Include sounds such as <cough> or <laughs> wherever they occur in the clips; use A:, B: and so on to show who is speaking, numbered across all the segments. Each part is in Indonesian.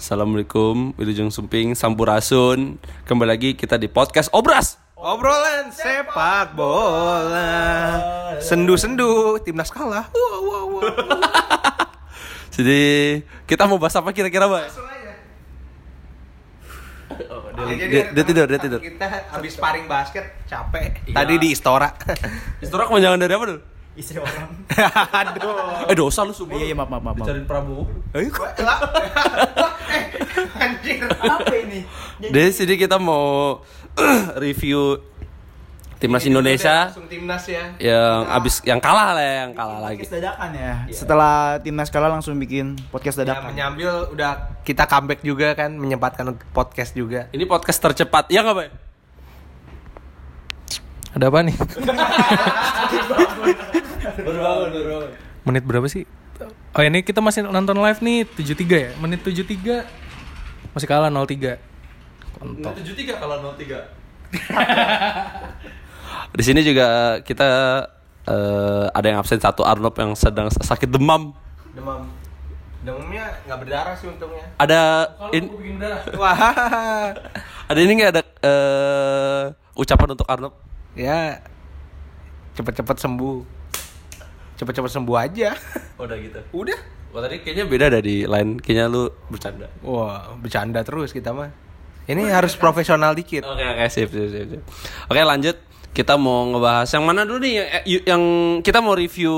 A: Assalamualaikum, Wilujeng Sumping, Sampurasun. Kembali lagi kita di podcast Obras.
B: Obrolan sepak bola. Sendu-sendu, timnas kalah. Wow, wow, wow.
A: Jadi kita mau bahas apa kira-kira, Pak?
B: Langsung aja.
A: dia-
B: Ya, jadi
A: dia- dia tidur, dia
B: kita-
A: tidur.
B: Kita habis paring basket capek.
C: Iya.
B: Tadi di Istora.
A: <laughs> Istora kepanjangan dari apa dulu?
C: istri orang
B: Aduh.
A: Eh dosa lu sumpah. iya,
C: iya iya maaf maaf maaf maaf.
A: Dicariin Prabowo.
B: Lah. Eh, Anjir.
C: apa ini
A: Jadi sini kita mau <clears throat> review timnas
B: Ini udah
A: Indonesia Iya,
B: Langsung timnas ya.
A: yang abis yang kalah lah, ya, yang kalah lagi.
C: podcast dadakan ya setelah timnas kalah langsung bikin podcast
B: Ya,
C: dadakan
B: menyambil udah kita comeback juga kan menyempatkan untuk podcast juga.
A: Ini podcast tercepat, ya nggak, Pak?
B: Ada apa nih?
A: Berbangun, berbangun.
D: menit berapa sih? Oh ini kita masih nonton live nih 73 ya. Menit 73 masih kalah 03. Kontol.
A: 73 kalah 03. Di sini juga kita eh, ada yang absen satu Arnop yang sedang sakit demam.
B: Demam. Demamnya nggak berdarah sih untungnya.
A: Ada in-
B: Wah.
A: ada ini nggak ada eh, ucapan untuk Arnop?
B: ya cepet-cepet sembuh cepet-cepet sembuh aja
A: Udah gitu.
B: udah
A: Wah tadi kayaknya beda dari lain. Kayaknya lu bercanda.
B: wah bercanda terus kita mah ini harus profesional dikit
A: Oke oke sip sip sip. sip. Oke lanjut kita mau ngebahas yang mana dulu nih yang, eh, yang kita mau review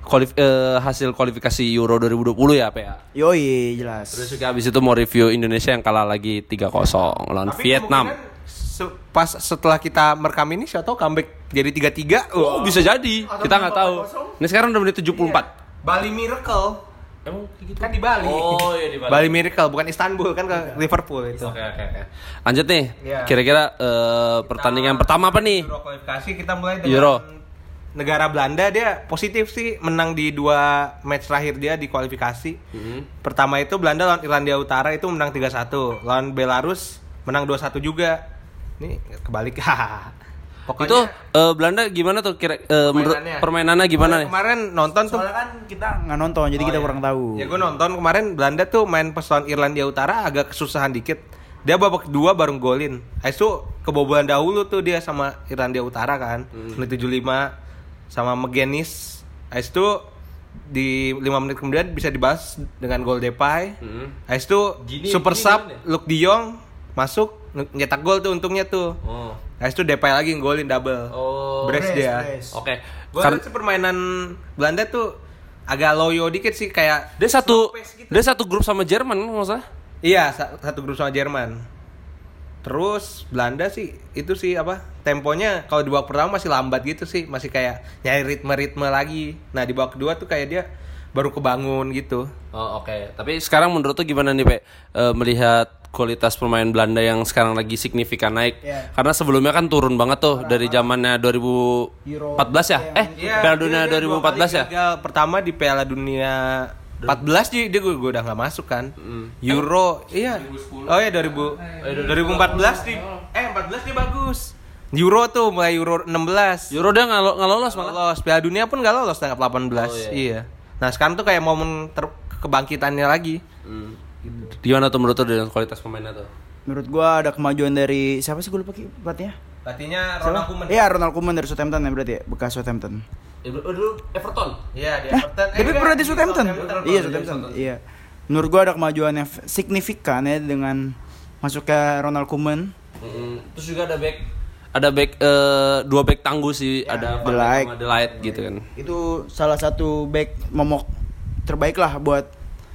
A: kualif- eh, hasil kualifikasi Euro 2020 ya PA.
C: yoi jelas
A: Terus juga abis itu mau review Indonesia yang kalah lagi 3-0 lawan Vietnam.
B: kemungkinan se- pas setelah kita merekam ini siapa tahu comeback jadi tiga tiga
A: Oh, bisa jadi. kita nggak tahu. Ini sekarang udah menit 74.
B: Bali Miracle
A: Iya. Emang kayak gitu?
B: kan di Bali
A: Oh, iya di Bali.
B: Miracle bukan Istanbul kan ke Liverpool itu
A: Oke oke oke. Lanjut nih.
B: Iya.
A: Kira-kira eh, pertandingan pertama apa nih?
B: Euro kualifikasi kita mulai dengan
A: Euro.
B: negara Belanda dia positif sih menang di dua match terakhir dia di kualifikasi.
A: Hmm.
B: Pertama itu Belanda lawan Irlandia Utara itu menang 3-1. Lawan Belarus menang 2-1 juga. Ini kebalik. <laughs> Pokoknya
A: Itu eh, Belanda gimana tuh kira eh, menurut
B: Permainannya.
A: permainannya gimana nih?
B: kemarin nonton tuh
C: soalnya kan kita nggak nonton jadi kita kurang tahu
B: Ya gue nonton kemarin Belanda tuh main pas lawan Irlandia Utara agak kesusahan dikit. Dia babak kedua baru golin. Habis itu kebobolan dahulu tuh dia sama Irlandia Utara kan. Menit 75 sama McGuinness. Habis itu di 5 menit kemudian bisa dibahas dengan gol Depay. Habis itu
A: Gini-
B: super
A: gini
B: sub
A: golnya?
B: Luke De Jong masuk n- nyetak gol tuh untungnya tuh.
A: Oh.
B: Habis itu Depay lagi golin double.
A: Oh.
B: Brace dia.
A: Oke.
B: Gue
A: Kar-
B: sih permainan Belanda tuh agak loyo dikit sih kayak
A: dia satu dia satu grup sama Jerman kan, nggak usah.
B: Iya, sa- satu grup sama Jerman. Terus Belanda sih itu sih apa? Temponya kalau di babak pertama masih lambat gitu sih, masih kayak nyari ritme-ritme lagi. Nah, di babak kedua tuh kayak dia baru kebangun gitu.
A: Oh, oke. Tapi sekarang menurut tuh gimana nih, Pak? melihat kualitas pemain Belanda yang sekarang lagi signifikan naik.
C: Iya.
A: Karena sebelumnya kan turun banget tuh dari zamannya 2014 ya? Eh,
B: Iya,
A: Piala Dunia 2014 ya?
B: Gagal pertama di Piala Dunia 14 dia, dia gue, gue udah nggak masuk kan.
A: Hmm.
B: Euro iya. Oh iya 2000 2014 di
A: Oh.
B: eh 14 dia bagus. Euro tuh mulai Euro 16.
A: Euro dia nggak lo- nggak lolos
B: Nggak
A: malah.
B: lolos Piala Dunia pun nggak lolos tanggal 18 iya. nah sekarang tuh kayak momen ter- kebangkitannya lagi
A: Hmm. Gimana tuh menurut tuh dengan kualitas pemainnya tuh?
C: menurut gua ada kemajuan dari siapa sih gue lupa ki pelatihnya
B: Pelatihnya
C: Siapa? Iya Ronald Koeman dari Southampton ya berarti ya bekas Southampton
A: Dulu Everton.
B: iya dia Everton. Eh,
C: tapi
B: enggak,
C: pernah di Southampton
B: Southampton.
C: iya Southampton iya menurut gua ada kemajuan yang f- signifikan ya dengan masuknya Ronald Koeman
A: Terus juga ada back ada back eh, dua back tangguh sih, ada Van Dijk
C: Delight.
A: sama Delight gitu kan.
C: itu salah satu back momok terbaik lah buat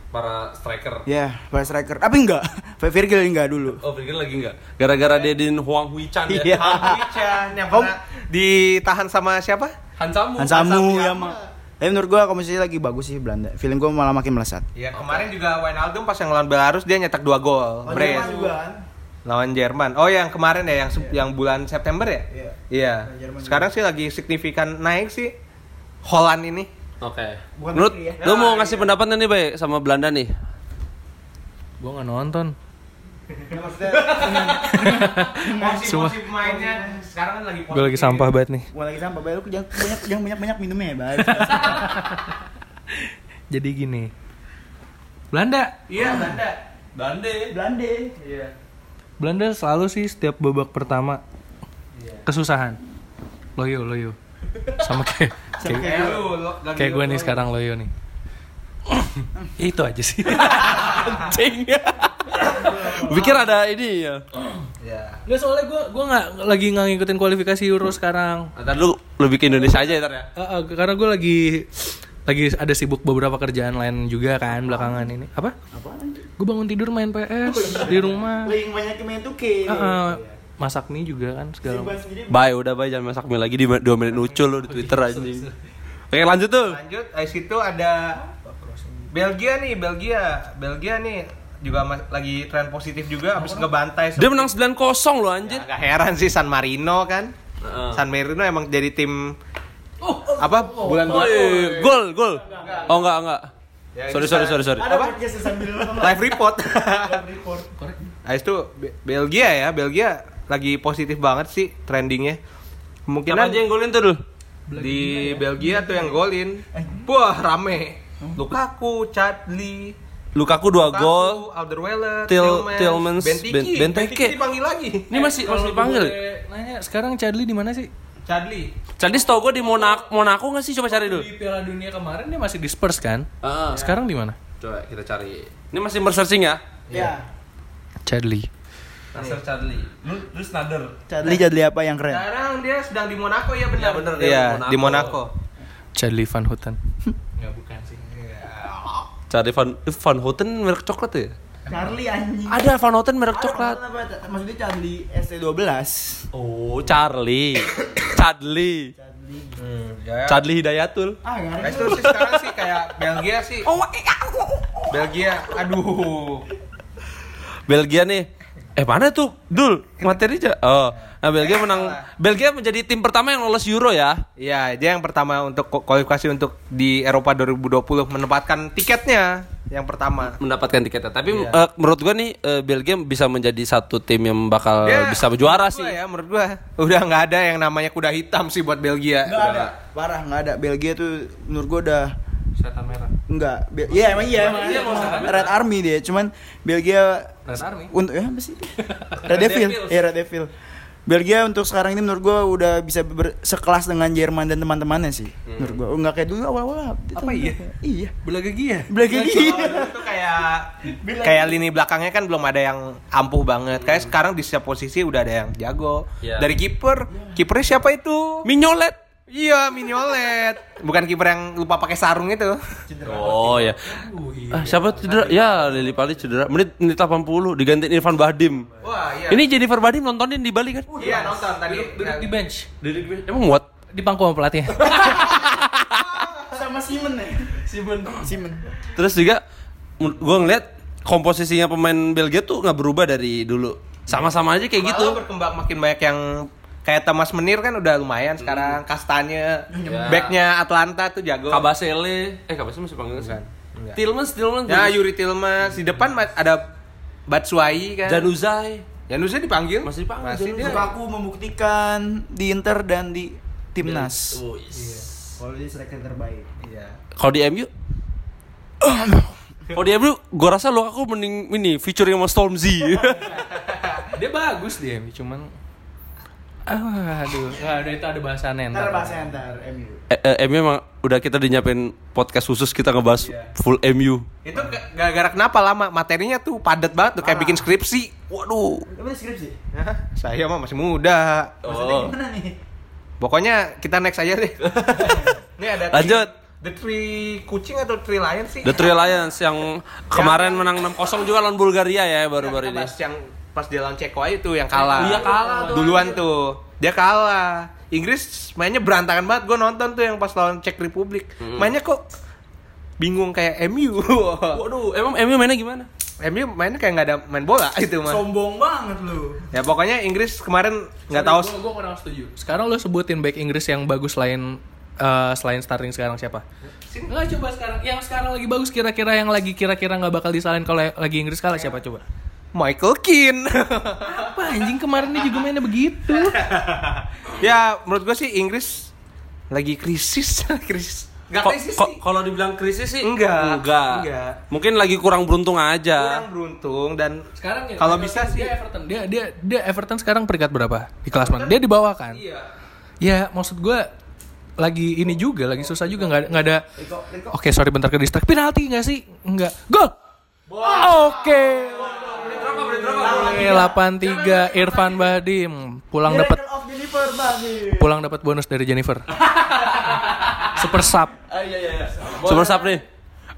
A: Para striker.
C: ya para striker tapi enggak <laughs> Virgil enggak dulu
A: Oh, pikir lagi nggak? Gara-gara dia di Huang Hui Chan ya.
C: Iya.
B: Wichan yang pernah ditahan sama siapa
A: <laughs> Hansamu.
C: Hansamu ya mah tapi menurut gua komposisi lagi bagus sih Belanda feeling gua malah makin melesat
B: Iya kemarin juga Wijnaldum pas yang lawan Belarus dia nyetak dua gol. Brace. Lawan Jerman. Oh yang kemarin ya yang se- yang bulan September ya?
C: Iya.
B: Iya.
C: Lawan Jerman
B: Sekarang sih lagi signifikan naik sih Holland ini.
A: Oke.
C: Bukan
A: Menurut
C: negeri ya.
A: lu mau ngasih pendapatnya nih, Bay, sama Belanda nih?
D: Gua nggak nonton.
C: Ya,
B: Semua pemainnya sekarang kan lagi
D: Gua lagi sampah banget nih.
C: gua lagi sampah baru jangan banyak jangan banyak banyak minumnya ya <laughs> baik
D: Jadi gini. Belanda
B: Iya, Belanda.
A: Bande.
C: Belanda.
A: Iya.
D: Belanda selalu sih setiap babak pertama kesusahan. Loyo, loyo. Sama kayak kayak,
B: Eh, lu, lu, lagi
D: kayak gue
B: lu-
D: nih sekarang loyo nih. <clears throat> Ya, itu aja sih.
A: Cing. Pikir ada ini ya.
B: Ya.
D: Nggak soalnya gue gue nggak lagi nggak ngikutin kualifikasi Euro sekarang.
A: Ntar lu lebih ke Indonesia aja ya, ntar ya.
D: Eh, eh, karena gue lagi lagi ada sibuk beberapa kerjaan lain juga kan belakangan ini. Apa? Gue bangun tidur main PS di rumah.
C: Paling banyak yang main 2K.
D: Eh, eh, masak mie juga kan segala.
C: Simpan sendiri.
A: Bye, udah bye jangan masak mie lagi di domain ucul lu di <laughs> Twitter anjing. Oke, lanjut tuh.
B: Lanjut, dari situ ada Belgia nih, Belgia. Belgia nih juga ma- lagi tren positif juga habis ngebantai
A: Dia menang 9-0 loh anjir.
B: Gak heran sih San Marino kan.
A: Heeh.
B: San Marino emang jadi tim apa bulan
A: Oh, iya, iya. Gol, gol. Oh enggak, enggak.
B: Ya,
A: Sorry,
B: kita-
A: sorry, sorry, sorry.
C: Ada podcast sambil
B: live report.
A: <laughs>
C: report.
B: Habis itu Be- Belgia ya, Belgia lagi positif banget sih trendingnya.
A: Siapa
B: Kemungkinan
A: aja yang golin tuh dulu?
B: di Belgia tuh yang golin. Wah, rame. Lukaku, Chadli,
A: Lukaku
B: Oh,
A: 2 gol.
B: Alderweireld,
A: Til- Tillmans,
B: Benteke.
A: Ben- Benteke.
B: dipanggil lagi.
A: Ini
D: Eh,
A: masih masih dipanggil.
D: Nanya sekarang Chadli di mana sih?
B: Chadli.
A: Jadi tau gue di Monaco, Monaco nggak sih? Coba cari dulu.
D: Di Piala Dunia kemarin dia masih di Spurs kan?
A: Heeh.
D: Sekarang di
A: Ah.
D: mana?
A: Coba kita cari. Ini masih bersearching ya?
C: Ya.
D: Chadli.
A: Nasir Charlie. Lu lu Nader.
C: Charlie jadi apa yang keren?
B: Sekarang dia sedang di Monaco ya benar.
A: Ya, bener, dia
B: Ya. Iya,
A: di
B: di
A: Monaco.
B: Monaco.
D: Chadli Van Houten.
A: Cari Van Van Houten merek coklat ya?
C: Charlie anjing.
A: Ada Van Houten merek
C: Apa, apa, apa, Maksudnya Charlie E ST12.
A: Oh, Charlie. Chadli.
B: Hmm, ya.
A: Chadli Hidayatul.
C: Ah, enggak
B: Nah,
C: ada.
B: itu sih sekarang sih kayak Belgia sih.
A: Oh,
B: Belgia, aduh.
A: Belgia nih. Eh mana tuh? Dul, materi aja. Oh, nah Belgia menang. Belgia menjadi tim pertama yang lolos Euro ya.
B: Iya, dia yang pertama untuk ku- kualifikasi untuk di Eropa 2020 menempatkan tiketnya yang pertama.
A: mendapatkan tiketnya. Tapi eh, menurut gua nih eh, Belgia bisa menjadi satu tim yang bakal Eh,
B: Ya,
A: bisa juara
B: menurut
A: sih.
B: gua ya, menurut gua udah nggak ada yang namanya kuda hitam sih buat Belgia.
C: Enggak ada. Parah enggak ada. Belgia tuh menurut gua udah
D: Setan merah.
C: enggak. Be- Iya emang iya emang. Red Army dia. Cuman Belgia
D: Red Army.
C: untuk ya <laughs> apa sih? Red Devil. Iya Red Devil. Belgia untuk sekarang ini menurut gua udah bisa ber- sekelas dengan Jerman dan teman-temannya sih. Menurut gua enggak kayak dulu awal-awal.
D: Apa iya?
C: Hmm. Iya.
D: Belagia.
C: Belgia <laughs> dia.
B: Dulu tuh <laughs> kayak kayak lini belakangnya kan belum ada yang ampuh banget. Kayak sekarang di setiap posisi udah ada yang jago.
A: Iya.
B: Dari kiper, kipernya siapa itu?
A: Mignolet.
B: Iya, Mignolet. Bukan kiper yang lupa pakai sarung itu.
A: Oh ya. Ah, siapa cedera? Ya Lili Pali cedera. Menit menit 80 digantiin Irfan Bahdim.
B: Wah, iya.
A: Ini Jennifer Bahdim nontonin di Bali kan?
B: Iya, nonton tadi.
D: Duduk di bench.
A: Emang muat.
D: Di pangku sama pelatih.
C: Sama Simon ya. Simon. Simon.
A: Terus juga men- gua ngeliat komposisinya pemain Belgia tuh nggak berubah dari dulu. Sama-sama aja kayak gitu.
B: Malah berkembang makin banyak yang kayak Thomas Menir kan udah lumayan sekarang kastanya
A: Ya.
B: backnya Atlanta tuh jago
A: Kabasele, eh Kabasele masih panggil kan? Tilmans, Tilmans.
B: ya Yuri Tilmas di depan ma- ada Batshuayi kan
A: Januzaj.
B: Januzaj dipanggil
A: Masih dipanggil,
B: masih dia
C: Lukaku membuktikan di Inter dan di timnas.
A: Oh, yes.
C: Kalau dia striker terbaik.
B: Iya.
A: Kalau di MU Kalau di MU gue rasa lo aku mending ini featuring sama
B: <laughs>
A: Stormzy.
D: dia bagus dia, cuman Ah, aduh, nah, ada itu ada bahasannya
C: Ntar
D: ntar.
C: bahasnya ntar MU.
A: eh, eh, MU emang udah kita dinyapain podcast khusus kita ngebahas
B: Iya.
A: full MU.
B: itu ke- gara-gara kenapa lama materinya tuh padat banget tuh kayak bikin skripsi waduh
C: Kamu skripsi?
B: Hah? saya mah masih muda
A: Oh.
C: Gimana nih?
B: pokoknya kita next aja deh <laughs> ini ada tri-
A: Lanjut.
B: the three kucing atau three lion sih
A: The Three Lions yang kemarin menang 6-0 juga lawan Bulgaria ya baru-baru ini.
B: Pas yang pas dia lawan Ceko aja tuh yang kalah.
A: Iya, kalah tuh.
B: Duluan tuh. Dia kalah. Inggris mainnya berantakan banget. Gue nonton tuh yang pas lawan Cek Republik. Mainnya kok bingung kayak <laughs> MU.
A: Waduh, emang MU mainnya gimana?
B: MU mainnya kayak nggak ada main bola <laughs> itu mah.
C: Sombong banget lu.
B: Ya pokoknya Inggris kemarin nggak tahu.
D: Gua- gua kurang setuju. Sekarang lo sebutin back Inggris yang bagus lain eh, selain starting sekarang siapa? Enggak coba sekarang yang sekarang lagi bagus kira-kira yang lagi kira-kira nggak bakal disalahin kalau lagi Inggris kalah siapa coba?
B: Michael Keane. <laughs>
D: Apa anjing kemarin dia juga mainnya begitu.
B: ya menurut gue sih Inggris lagi krisis <laughs> krisis Nggak
A: Ko-
B: krisis
A: ko-
B: sih.
A: Kalau dibilang krisis sih
B: Enggak,
A: enggak.
B: enggak.
A: Mungkin lagi kurang beruntung aja.
B: kurang beruntung dan
D: Sekarang ya,
B: kalau
D: dia-
B: bisa
D: dia
B: sih
D: Everton. Dia dia dia Everton sekarang peringkat berapa di klasemen? Dia di bawah kan?
B: Iya.
D: Ya, maksud gue lagi ini juga, lagi susah juga nggak ada- nggak ada. Oke, sorry bentar ke distract. Penalti nggak sih? Nggak. Gol. Oke. Oke, 83 Irfan Badim pulang dapat
C: of Jennifer Badim.
D: pulang dapat bonus dari
B: <laughs>
D: Jennifer. Super sub.
A: Super Sub nih.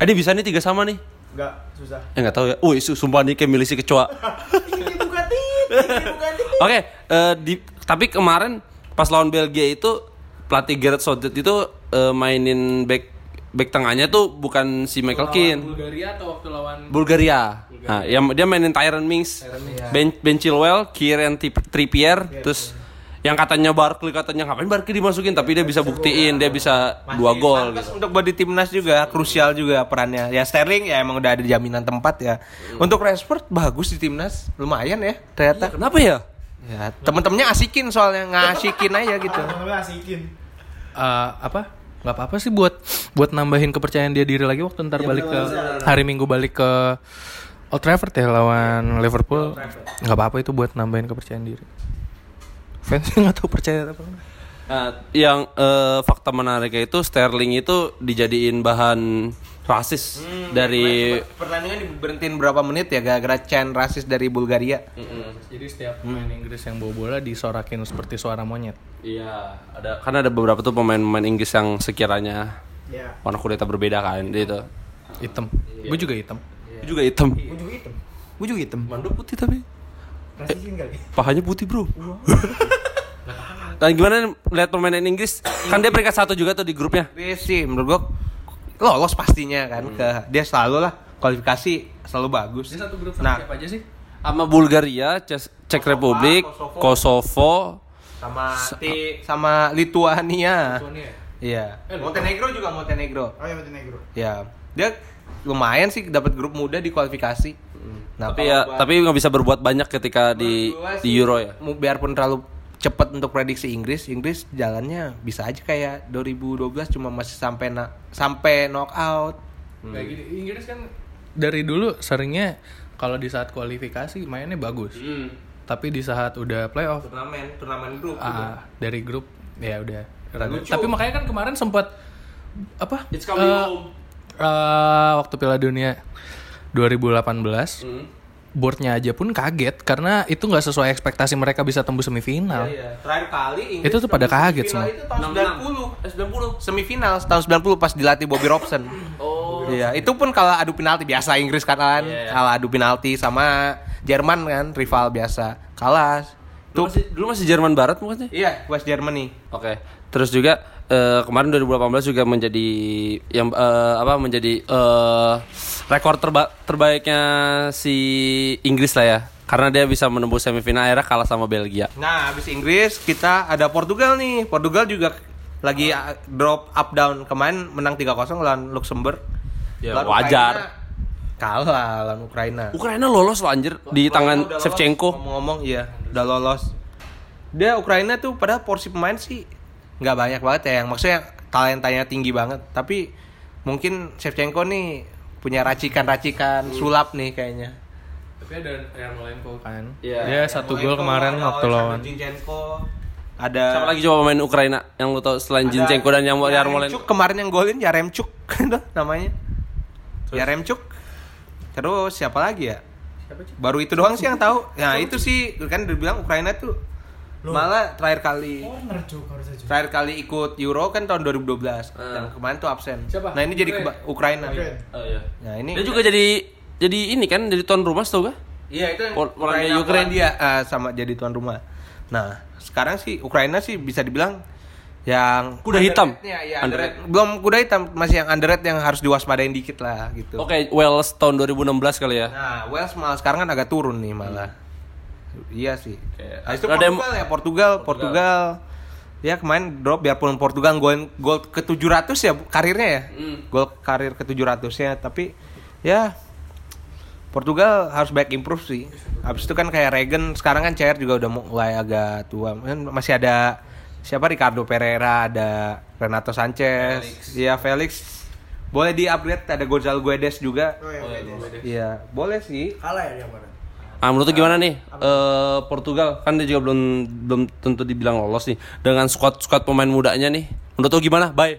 A: Eh dia bisa nih tiga sama nih.
C: Enggak, susah.
A: Eh nggak tahu ya. Wih, su- sumpah nih kayak milisi <laughs> kecoa.
C: Ini bukan tit, ini bukan tit.
A: Oke, eh, di- tapi kemarin pas lawan Belgia itu pelatih Gerard Southgate itu eh, mainin back back tengahnya tuh bukan si Michael Keane.
D: Bulgaria atau waktu lawan
A: Bulgaria. Nah, yang dia mainin Tyron Mings, Ben, ben Chilwell, Kieran Tri- Trippier, terus yang katanya Barkley katanya ngapain Barkley dimasukin tapi dia bisa buktiin dia bisa dua gol
B: Pantas
A: gitu.
B: untuk buat di timnas juga krusial juga perannya ya Sterling ya emang udah ada jaminan tempat ya
A: Hmm.
B: untuk Rashford bagus di timnas lumayan ya ternyata
A: Kenapa ya?
B: ya temen-temennya asikin soalnya ngasikin aja
A: <laughs>
B: gitu
C: Namanya asikin.
D: eh, apa nggak apa-apa sih buat buat nambahin kepercayaan dia diri lagi waktu ntar balik ke hari minggu balik ke Old Trafford ya lawan Liverpool nggak apa-apa itu buat nambahin kepercayaan diri fansnya <laughs> nggak tahu percaya apa
A: Nah, yang eh, fakta menariknya itu Sterling itu dijadiin bahan rasis
B: iya,
A: dari
B: pertandingan diberhentiin berapa menit ya gara-gara Chan rasis dari Bulgaria
A: Hmm.
D: jadi setiap pemain Inggris yang bawa bola disorakin seperti suara monyet
A: iya ada karena ada beberapa tuh pemain-pemain Inggris yang sekiranya
C: Ya.
A: warna kulitnya berbeda kan dia itu
D: hitam gue juga hitam
A: juga hitam
C: Ujung hitam. Ujung hitam.
A: Mandu putih tapi Eh,
C: Rasikin kali.
A: pahanya putih bro <laughs> dan gimana lihat permainan Inggris kan dia peringkat satu juga tuh di grupnya
B: Dia sih menurut gua lolos pastinya kan
A: Hmm.
B: ke dia selalu lah kualifikasi selalu bagus nah
D: aja sih
A: sama Bulgaria Ces- Cek Republik Kosovo
B: sama sama Lituania iya
D: Eh,
B: Montenegro juga Montenegro
C: Oh ya Montenegro.
B: ya dia lumayan sih dapat grup muda di kualifikasi nah
A: tapi ya
B: kalau
A: tapi nggak bisa berbuat banyak ketika di
B: gua
A: di
B: sih,
A: Euro ya
B: mu- biarpun terlalu cepat untuk prediksi Inggris Inggris jalannya bisa aja kayak 2012 cuma masih sampai na- sampai knockout
D: Kayak gini, Inggris kan dari dulu seringnya kalau di saat kualifikasi mainnya bagus
B: Hmm.
D: tapi di saat udah playoff
B: turnamen turnamen grup gitu.
A: Gitu.
D: Ah, dari grup ya udah ragu.
B: Lucu.
D: Tapi makanya kan kemarin sempat apa?
A: It's coming
D: eh,
A: home.
D: eh, waktu Piala Dunia 2018
A: Hmm.
D: boardnya aja pun kaget karena itu nggak sesuai ekspektasi mereka bisa tembus semifinal.
A: Iya,
B: Iya, terakhir kali
D: Inggris Itu tuh pada tembus kaget semifinal semua.
B: itu tahun 90 90 semifinal tahun 90 pas dilatih Bobby Robson <clears throat> oh iya itu pun kalah adu penalti biasa Inggris kan kalah kalah adu penalti sama Jerman kan rival biasa kalah
A: Dulu
B: tuh
A: masih, dulu masih Jerman Barat bukan sih?
B: iya West Germany
A: Oke. Terus juga eh, kemarin 2018 juga menjadi yang eh, apa menjadi eh, rekor terba- terbaiknya si Inggris lah ya. Karena dia bisa menembus semifinal akhirnya kalah sama Belgia.
B: Nah, habis Inggris kita ada Portugal nih. Portugal juga lagi uh, drop up down. Kemarin menang 3-0 lawan Luxembourg.
A: Ya,
B: Lawan
A: wajar.
B: Ukraina, kalah lawan Ukraina.
A: Ukraina lolos loh anjir di
B: Ukraina
A: tangan
B: udah lolos,
A: Shevchenko.
B: Ngomong-ngomong iya, udah lolos. Dia Ukraina tuh pada porsi pemain sih nggak banyak banget ya. Yang maksudnya talentanya tinggi banget, tapi mungkin Shevchenko nih punya racikan-racikan sulap nih kayaknya.
D: Tapi ada Yarmolenko kan.
A: Iya.
D: Dia satu gol kemarin waktu lawan.
B: Zinchenko ada
A: Siapa lagi coba pemain Ukraina yang lu tahu selain Zinchenko dan yang Yarmolenko?
B: Yaremchuk ya, kemarin yang golin Yaremchuk <laughs> itu namanya. Yaremchuk. Terus siapa lagi ya? Baru itu doang sih yang tahu. Nah, itu sih kan dibilang Ukraina tuh malah terakhir kali
C: Corner Oh, cuk harusnya cuk.
B: terakhir kali ikut Euro kan tahun 2012. Yang kemarin tuh absen.
D: Siapa?
B: Nah, ini jadi keba- Ukraina.
C: Ukraina.
A: Oh, iya.
B: Nah, ini
A: Dia juga jadi jadi ini kan jadi tuan rumah tau gak?
B: Iya, itu yang
A: Pol- Polandia,
B: Ukraina,
A: Ukraina.
B: Polandia, eh, sama jadi tuan rumah. Nah, sekarang sih Ukraina sih bisa dibilang yang
A: Kuda hitam.
B: Underrated-nya, ya,
A: Underrated.
B: underrated. Belum kuda hitam, masih yang underrated yang harus diwaspadain dikit lah gitu.
A: Oke, Wales tahun 2016 kali ya.
B: Nah, Wales malah sekarang kan agak turun nih malah. Iya sih. Nah, itu
A: Ada yang-
B: Portugal ya, Portugal, Portugal. Ya kemarin drop biarpun Portugal gol gol ke 700 ya karirnya ya. Gol karir ke 700-nya tapi ya Portugal harus back improve sih. Habis itu kan kayak Regen sekarang kan CR juga udah mulai agak tua. Kan Masih ada siapa Ricardo Pereira, ada Renato Sanchez, iya Felix. Boleh di-upgrade ada Gonzalo Guedes juga. Iya, boleh sih.
C: Kalah ya dia kemarin.
A: Ah, menurut lu gimana nih Eh, Portugal kan dia juga belum belum tentu dibilang lolos nih dengan squad squad pemain mudanya nih. Menurut lu gimana? Bye.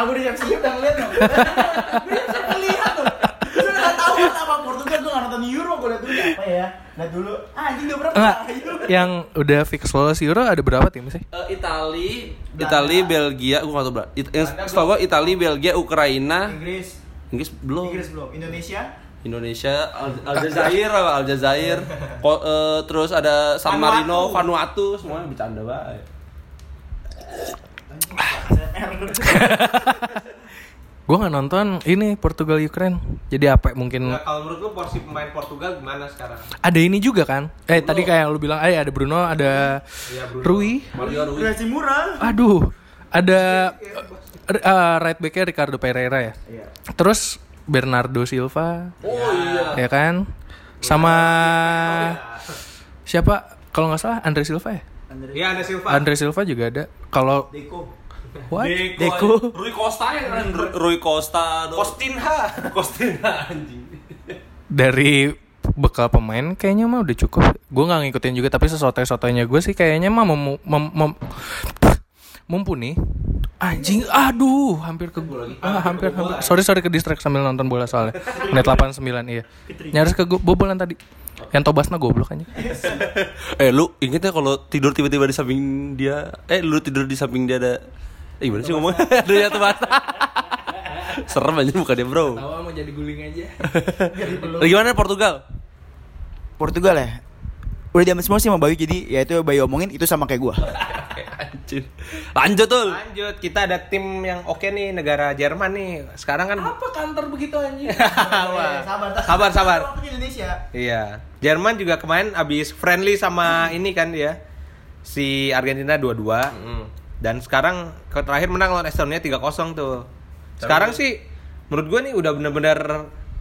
C: Aku udah siap siap ngeliat dong. Udah siap ngeliat dong. Gue udah tahu apa Portugal gue nggak nonton Euro gue liat dulu ya, apa ya. Lihat dulu. Ah, Anjing udah berapa?
D: Enggak,
C: Ya.
D: yang udah fix lolos Euro ada berapa tim sih?
A: Eh, Itali, Itali, Belgia, gua enggak tahu, Bra. It- yang setahu gua Itali, Belgia, Ukraina,
C: Inggris.
A: Inggris belum.
C: Inggris belum. Indonesia.
A: Indonesia, Al- Aljazair, apa, Aljazair, Ko- eh, terus ada San Marino, Vanuatu, semuanya bercanda banget.
D: Gua nggak nonton ini Portugal Ukraine. Jadi apa mungkin
B: Nah, kalau menurut lu porsi pemain Portugal gimana sekarang?
D: ada ini juga kan? Eh tadi kayak yang lu bilang, eh ada Bruno, ada
A: Iya,
D: Rui.
A: Mario Rui.
C: Udah sih murah.
D: Aduh, ada eh, eh, right backnya Ricardo Pereira ya.
C: Iya.
D: Terus Bernardo Silva,
A: Oh iya.
D: ya kan? Sama siapa? Kalau nggak salah Andre Silva ya.
B: Iya, ada Silva.
D: Andre Silva juga ada. Kalau
C: Deko.
D: what?
A: Deko. Rui Costa ya kan? Ru- Rui Costa. aduh.
B: Kostinha.
A: Kostina anjing.
D: dari bekal pemain kayaknya mah udah cukup. Gue nggak ngikutin juga tapi sesotoy-sotoynya gue sih kayaknya mah memu- mem- mem- mumpuni. Anjing, aduh, hampir ke ah, hampir, hampir. Sorry, sorry ke distract sambil nonton bola soalnya. Menit 89 iya. Nyaris ke go- bobolan tadi. Yang Tobasna goblok aja.
A: Eh lu inget ya kalau tidur tiba-tiba di samping dia Eh lu tidur di samping dia ada Eh gimana sih ngomongnya <laughs> Ada yang teman Serem aja muka dia bro
D: mau jadi guling aja.
A: Lu <laughs> Gimana Portugal?
C: Portugal ya. Udah diambil semua sih sama Bayu jadi ya itu Bayu omongin itu sama kayak gua.
A: Eh, Anjir Lanjut tuh
B: Lanjut, kita ada tim yang oke nih negara Jerman nih. Sekarang kan
D: Apa kantor begitu
B: <laughs>
D: anjing? Eh,
B: Sabar.
C: sabar,
B: Sabar, sabar.
C: Waktunya Indonesia.
B: Iya. Jerman juga kemarin abis friendly sama ini kan dia. Si Argentina 2-2. Dan sekarang ke- terakhir menang lawan Estonia 3-0 tuh. Sekarang sih menurut gua nih udah bener-bener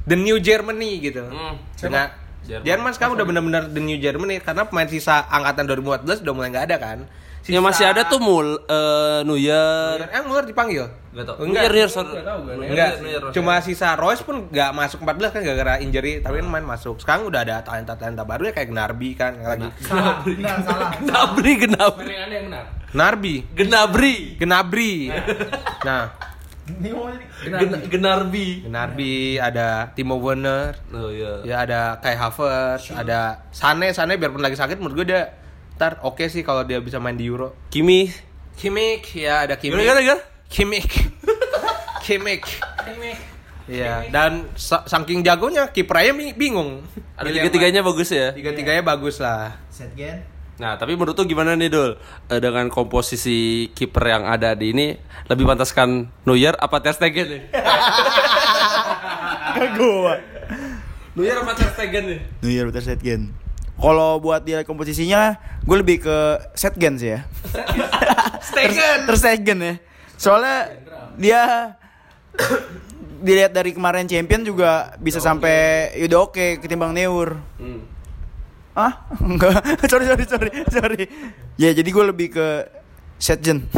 B: the new Germany gitu.
D: Mm.
B: Karena Jerman. sekarang udah bener-bener the new Germany karena pemain sisa angkatan 2014 udah mulai nggak ada kan.
D: Iya.
A: Yang masih ada tuh mul eh, Neuer
B: Eh, Muller dipanggil?
A: Gak tau
B: Enggak.
A: Neuer Neuer sorry
B: Enggak, cuma sisa Royce pun nggak masuk 14 kan gara-gara injury, tapi kan main masuk. Sekarang udah ada talenta-talenta baru ya kayak Gnabry kan yang lagi.
C: Benar salah.
A: Gnabry <laughs> Gnabry
D: yang benar.
B: Narbi,
A: Gnabry
B: Gnabry. Nah,
C: Ini mau jadi
A: Gen- Gnarbi
B: Gnabry ada Timo Werner,
A: Oh iya
B: ya ada Kai Havertz, ada Sane, Sane biarpun lagi sakit menurut gue dia ntar oke sih kalau dia bisa main di Euro.
A: Kimi
B: Kimmich ya ada Kimmich.
A: Gimana gimana
B: Kimmich. Kimmich. Iya, dan sa- saking jagonya kipernya bi- bingung.
A: Ada
B: Milih yang
A: tiga-tiganya bagus ya
B: mana. tiga-tiganya bagus lah.
C: Setgen. <laughs>
A: Nah, tapi menurut tuh gimana nih, Dul? Eh, dengan komposisi kiper yang ada di ini lebih pantaskan Neuer apa Ter Stegen nih?
C: Ke gua.
A: Neuer apa Ter Stegen nih?
C: New Year better Setgen. Kalau buat dia komposisinya, gue lebih ke Setgen sih ya. Stegen. Terus Setgen ya. Soalnya dia dilihat dari kemarin champion juga bisa sampai udah oke ketimbang Neur. Ah, <laughs> enggak. sorry, sorry, sorry, sorry. Ya, jadi gue lebih ke Setgen.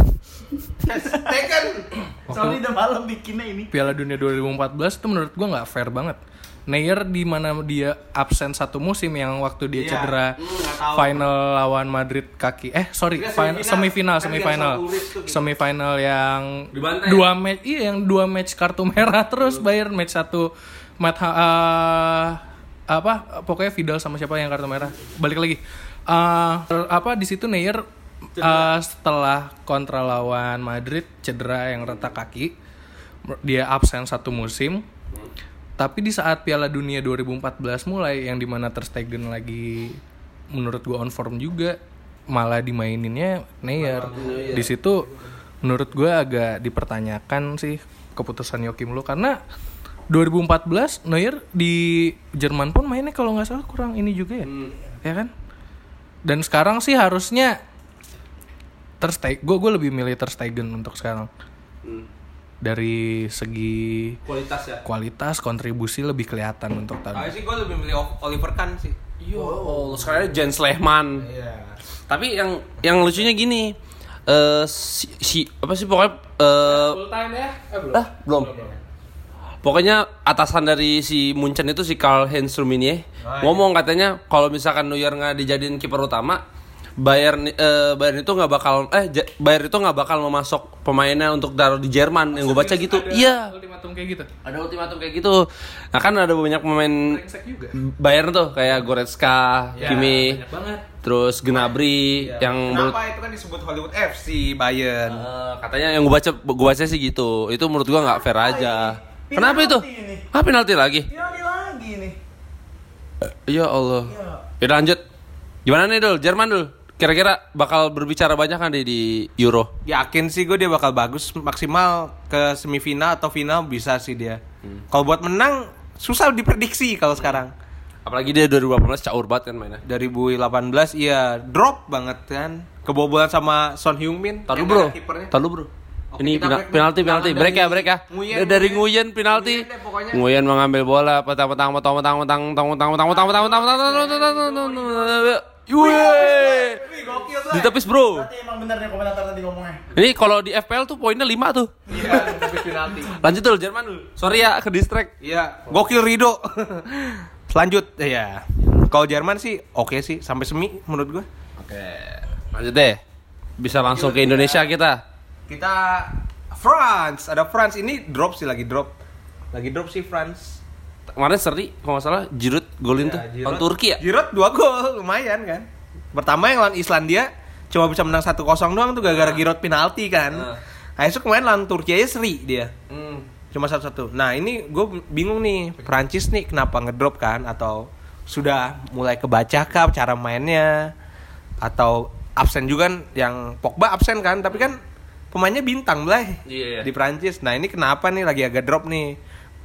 C: Sorry udah malam bikinnya ini.
D: Piala Dunia 2014 itu menurut gua nggak fair banget. Neuer di mana dia absen satu musim yang waktu dia cedera final lawan Madrid kaki eh sorry fin- semifinal semifinal semifinal yang
A: Dibantai.
D: dua match iya yang dua match kartu merah <laughs> terus Bayern match satu match eh, apa pokoknya Vidal sama siapa yang kartu merah balik lagi Eh, apa di situ Neuer eh, setelah kontra lawan Madrid cedera yang retak kaki dia absen satu musim tapi di saat Piala Dunia 2014 mulai yang dimana Ter Stegen lagi menurut gua on form juga malah dimaininnya Neuer. Di situ menurut gua agak dipertanyakan sih keputusan Joachim Low karena 2014 Neuer di Jerman pun mainnya kalau nggak salah kurang ini juga ya. Ya kan? Dan sekarang sih harusnya Ter Stegen, gue lebih milih Ter Stegen untuk sekarang. dari segi
B: Kualitas ya.
D: kualitas kontribusi lebih kelihatan untuk tahun.
B: Kalau sih gue Nah, lebih milih O- Oliver Kahn sih.
A: Yo, oh, sekarang Jens Lehmann.
B: Iya.
A: Tapi yang yang lucunya gini, eh si, si- apa sih pokoknya eh ah, belum. Pokoknya atasan dari si Munchen itu si Karl Heinz Rummenigge ngomong katanya kalau misalkan Neuer nggak dijadiin kiper utama, Bayern eh, Bayern itu nggak bakal eh Ja- Bayern itu nggak bakal memasok pemainnya untuk taruh di Jerman yang gue baca gitu. Iya.
D: Ultimatum kayak gitu.
A: Ada ultimatum kayak gitu. Nah kan ada banyak pemain
D: Brengsek juga.
A: Bayern tuh kayak Goretzka, Kimi,
D: Banyak banget.
A: terus Gnabry yang menurut
B: Kenapa itu kan disebut Hollywood FC Bayern?
A: Eh, katanya yang gue baca gue baca sih gitu itu menurut gua nggak fair aja kenapa itu
C: ini.
A: ah penalti lagi
C: Ini lagi nih.
A: ya Allah ya lanjut gimana nih dul Jerman dul kira-kira bakal berbicara banyak kan di, di Euro
B: Yakin sih gue dia bakal bagus maksimal ke semifinal atau final bisa sih dia.
A: Hmm.
B: Kalau buat menang susah diprediksi kalau sekarang.
A: apalagi dia 2018 caur banget kan mainnya
B: Dari 2018 iya drop banget kan. Kebobolan sama Son Heung-min.
A: Tahu
B: Yang
A: bro,
B: ada kipernya.
A: tahu bro.
B: Oke,
A: ini
B: kita
A: pena-
B: break nih.
A: penalti penalti
B: Jangan
A: break ya
B: dari
A: break ya.
B: Nguyen,
A: Dari- dari
B: Nguyen.
A: Nguyen penalti.
B: Nguyen deh pokoknya.
A: Nguyen mengambil bola petang petang petang petang petang petang petang petang petang petang petang petang petang petang petang petang Wih. Ditepis bro.
C: Berarti emang bener nih komentator tadi ngomongnya.
A: Ini kalau di FPL tuh poinnya 5 tuh.
B: Iya,
A: Lanjut dulu Jerman dulu. Sorry ya ke distract.
B: Iya, gokil Rido. <laughs> Lanjut ya. Kalau Jerman sih oke sih sampai semi menurut gue.
A: Oke. Lanjut deh. Bisa langsung ke Indonesia kita.
B: Kita France, ada France ini drop sih lagi drop. Lagi drop sih France.
A: Kemarin seri kalau nggak salah Giroud golin tuh lawan
B: Giroud-
A: Turki ya.
B: Giroud 2 gol, lumayan kan. Pertama yang lawan Islandia cuma bisa menang 1-0 doang tuh gara-gara
A: Ah.
B: Giroud penalti kan. Nah, itu kemarin lawan Turki aja seri dia. Cuma satu-satu. Nah, ini gue bingung nih, Prancis nih kenapa ngedrop kan atau sudah mulai kebaca kah cara mainnya atau absen juga kan yang Pogba absen kan, tapi kan pemainnya bintang belai
A: Iya, iya.
B: di Prancis. Nah, ini kenapa nih lagi agak drop nih?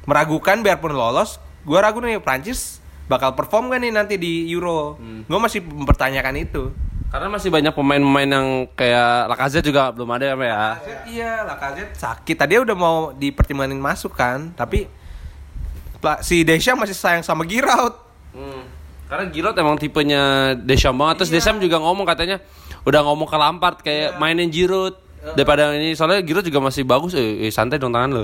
B: Meragukan biarpun lolos, gua ragu nih Prancis bakal perform gak nih nanti di Euro.
A: Hmm.
B: Gua masih mempertanyakan itu.
A: Karena masih banyak pemain-pemain yang kayak Lacazette juga belum ada ya. Pak, ya.
B: Lacazette, iya, Lacazette sakit. Tadi udah mau dipertimbangin masuk kan, tapi pla- si Desha masih sayang sama Giroud.
A: Hmm. Karena Giroud emang tipenya Deschamps banget. Terus
B: Iya.
A: Deschamps juga ngomong katanya udah ngomong ke Lampard kayak mainin Giroud daripada ini soalnya Giroud juga masih bagus. Eh, eh, santai dong tangan lo.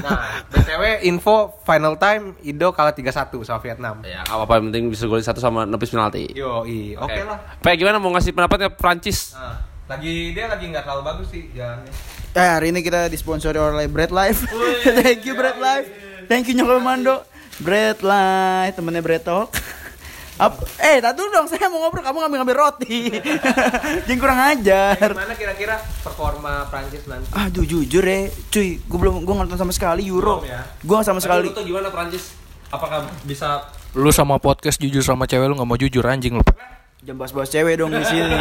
B: Nah, BTW info final time Indo kalah 3-1 sama Vietnam.
A: <laughs> ya, nggak apa-apa yang penting bisa golin satu sama nepis penalti.
B: Yo, i, Iya. oke lah.
A: Pak gimana mau ngasih pendapatnya Prancis?
B: Nah, lagi dia lagi nggak terlalu bagus sih jalannya.
C: Eh, hari ini kita disponsori oleh Bread Life. <laughs> Thank
B: iya,
C: you Bread Life. Thank you Nyokol Mando. Bread Life, temennya Bread Talk. Ap- eh, tatu dong, saya mau ngobrol, kamu ngambil-ngambil roti. <laughs> Jangan kurang ajar.
B: Gimana kira-kira performa Prancis nanti?
C: Aduh jujur ya, cuy, gue belum gue nonton sama sekali Euro.
B: Belum ya?
C: Gue sama sekali.
A: tuh gimana Prancis? Apakah bisa
D: Lu sama podcast jujur sama cewek lu nggak mau jujur anjing lu.
C: Jangan bahas-bahas cewek dong di sini.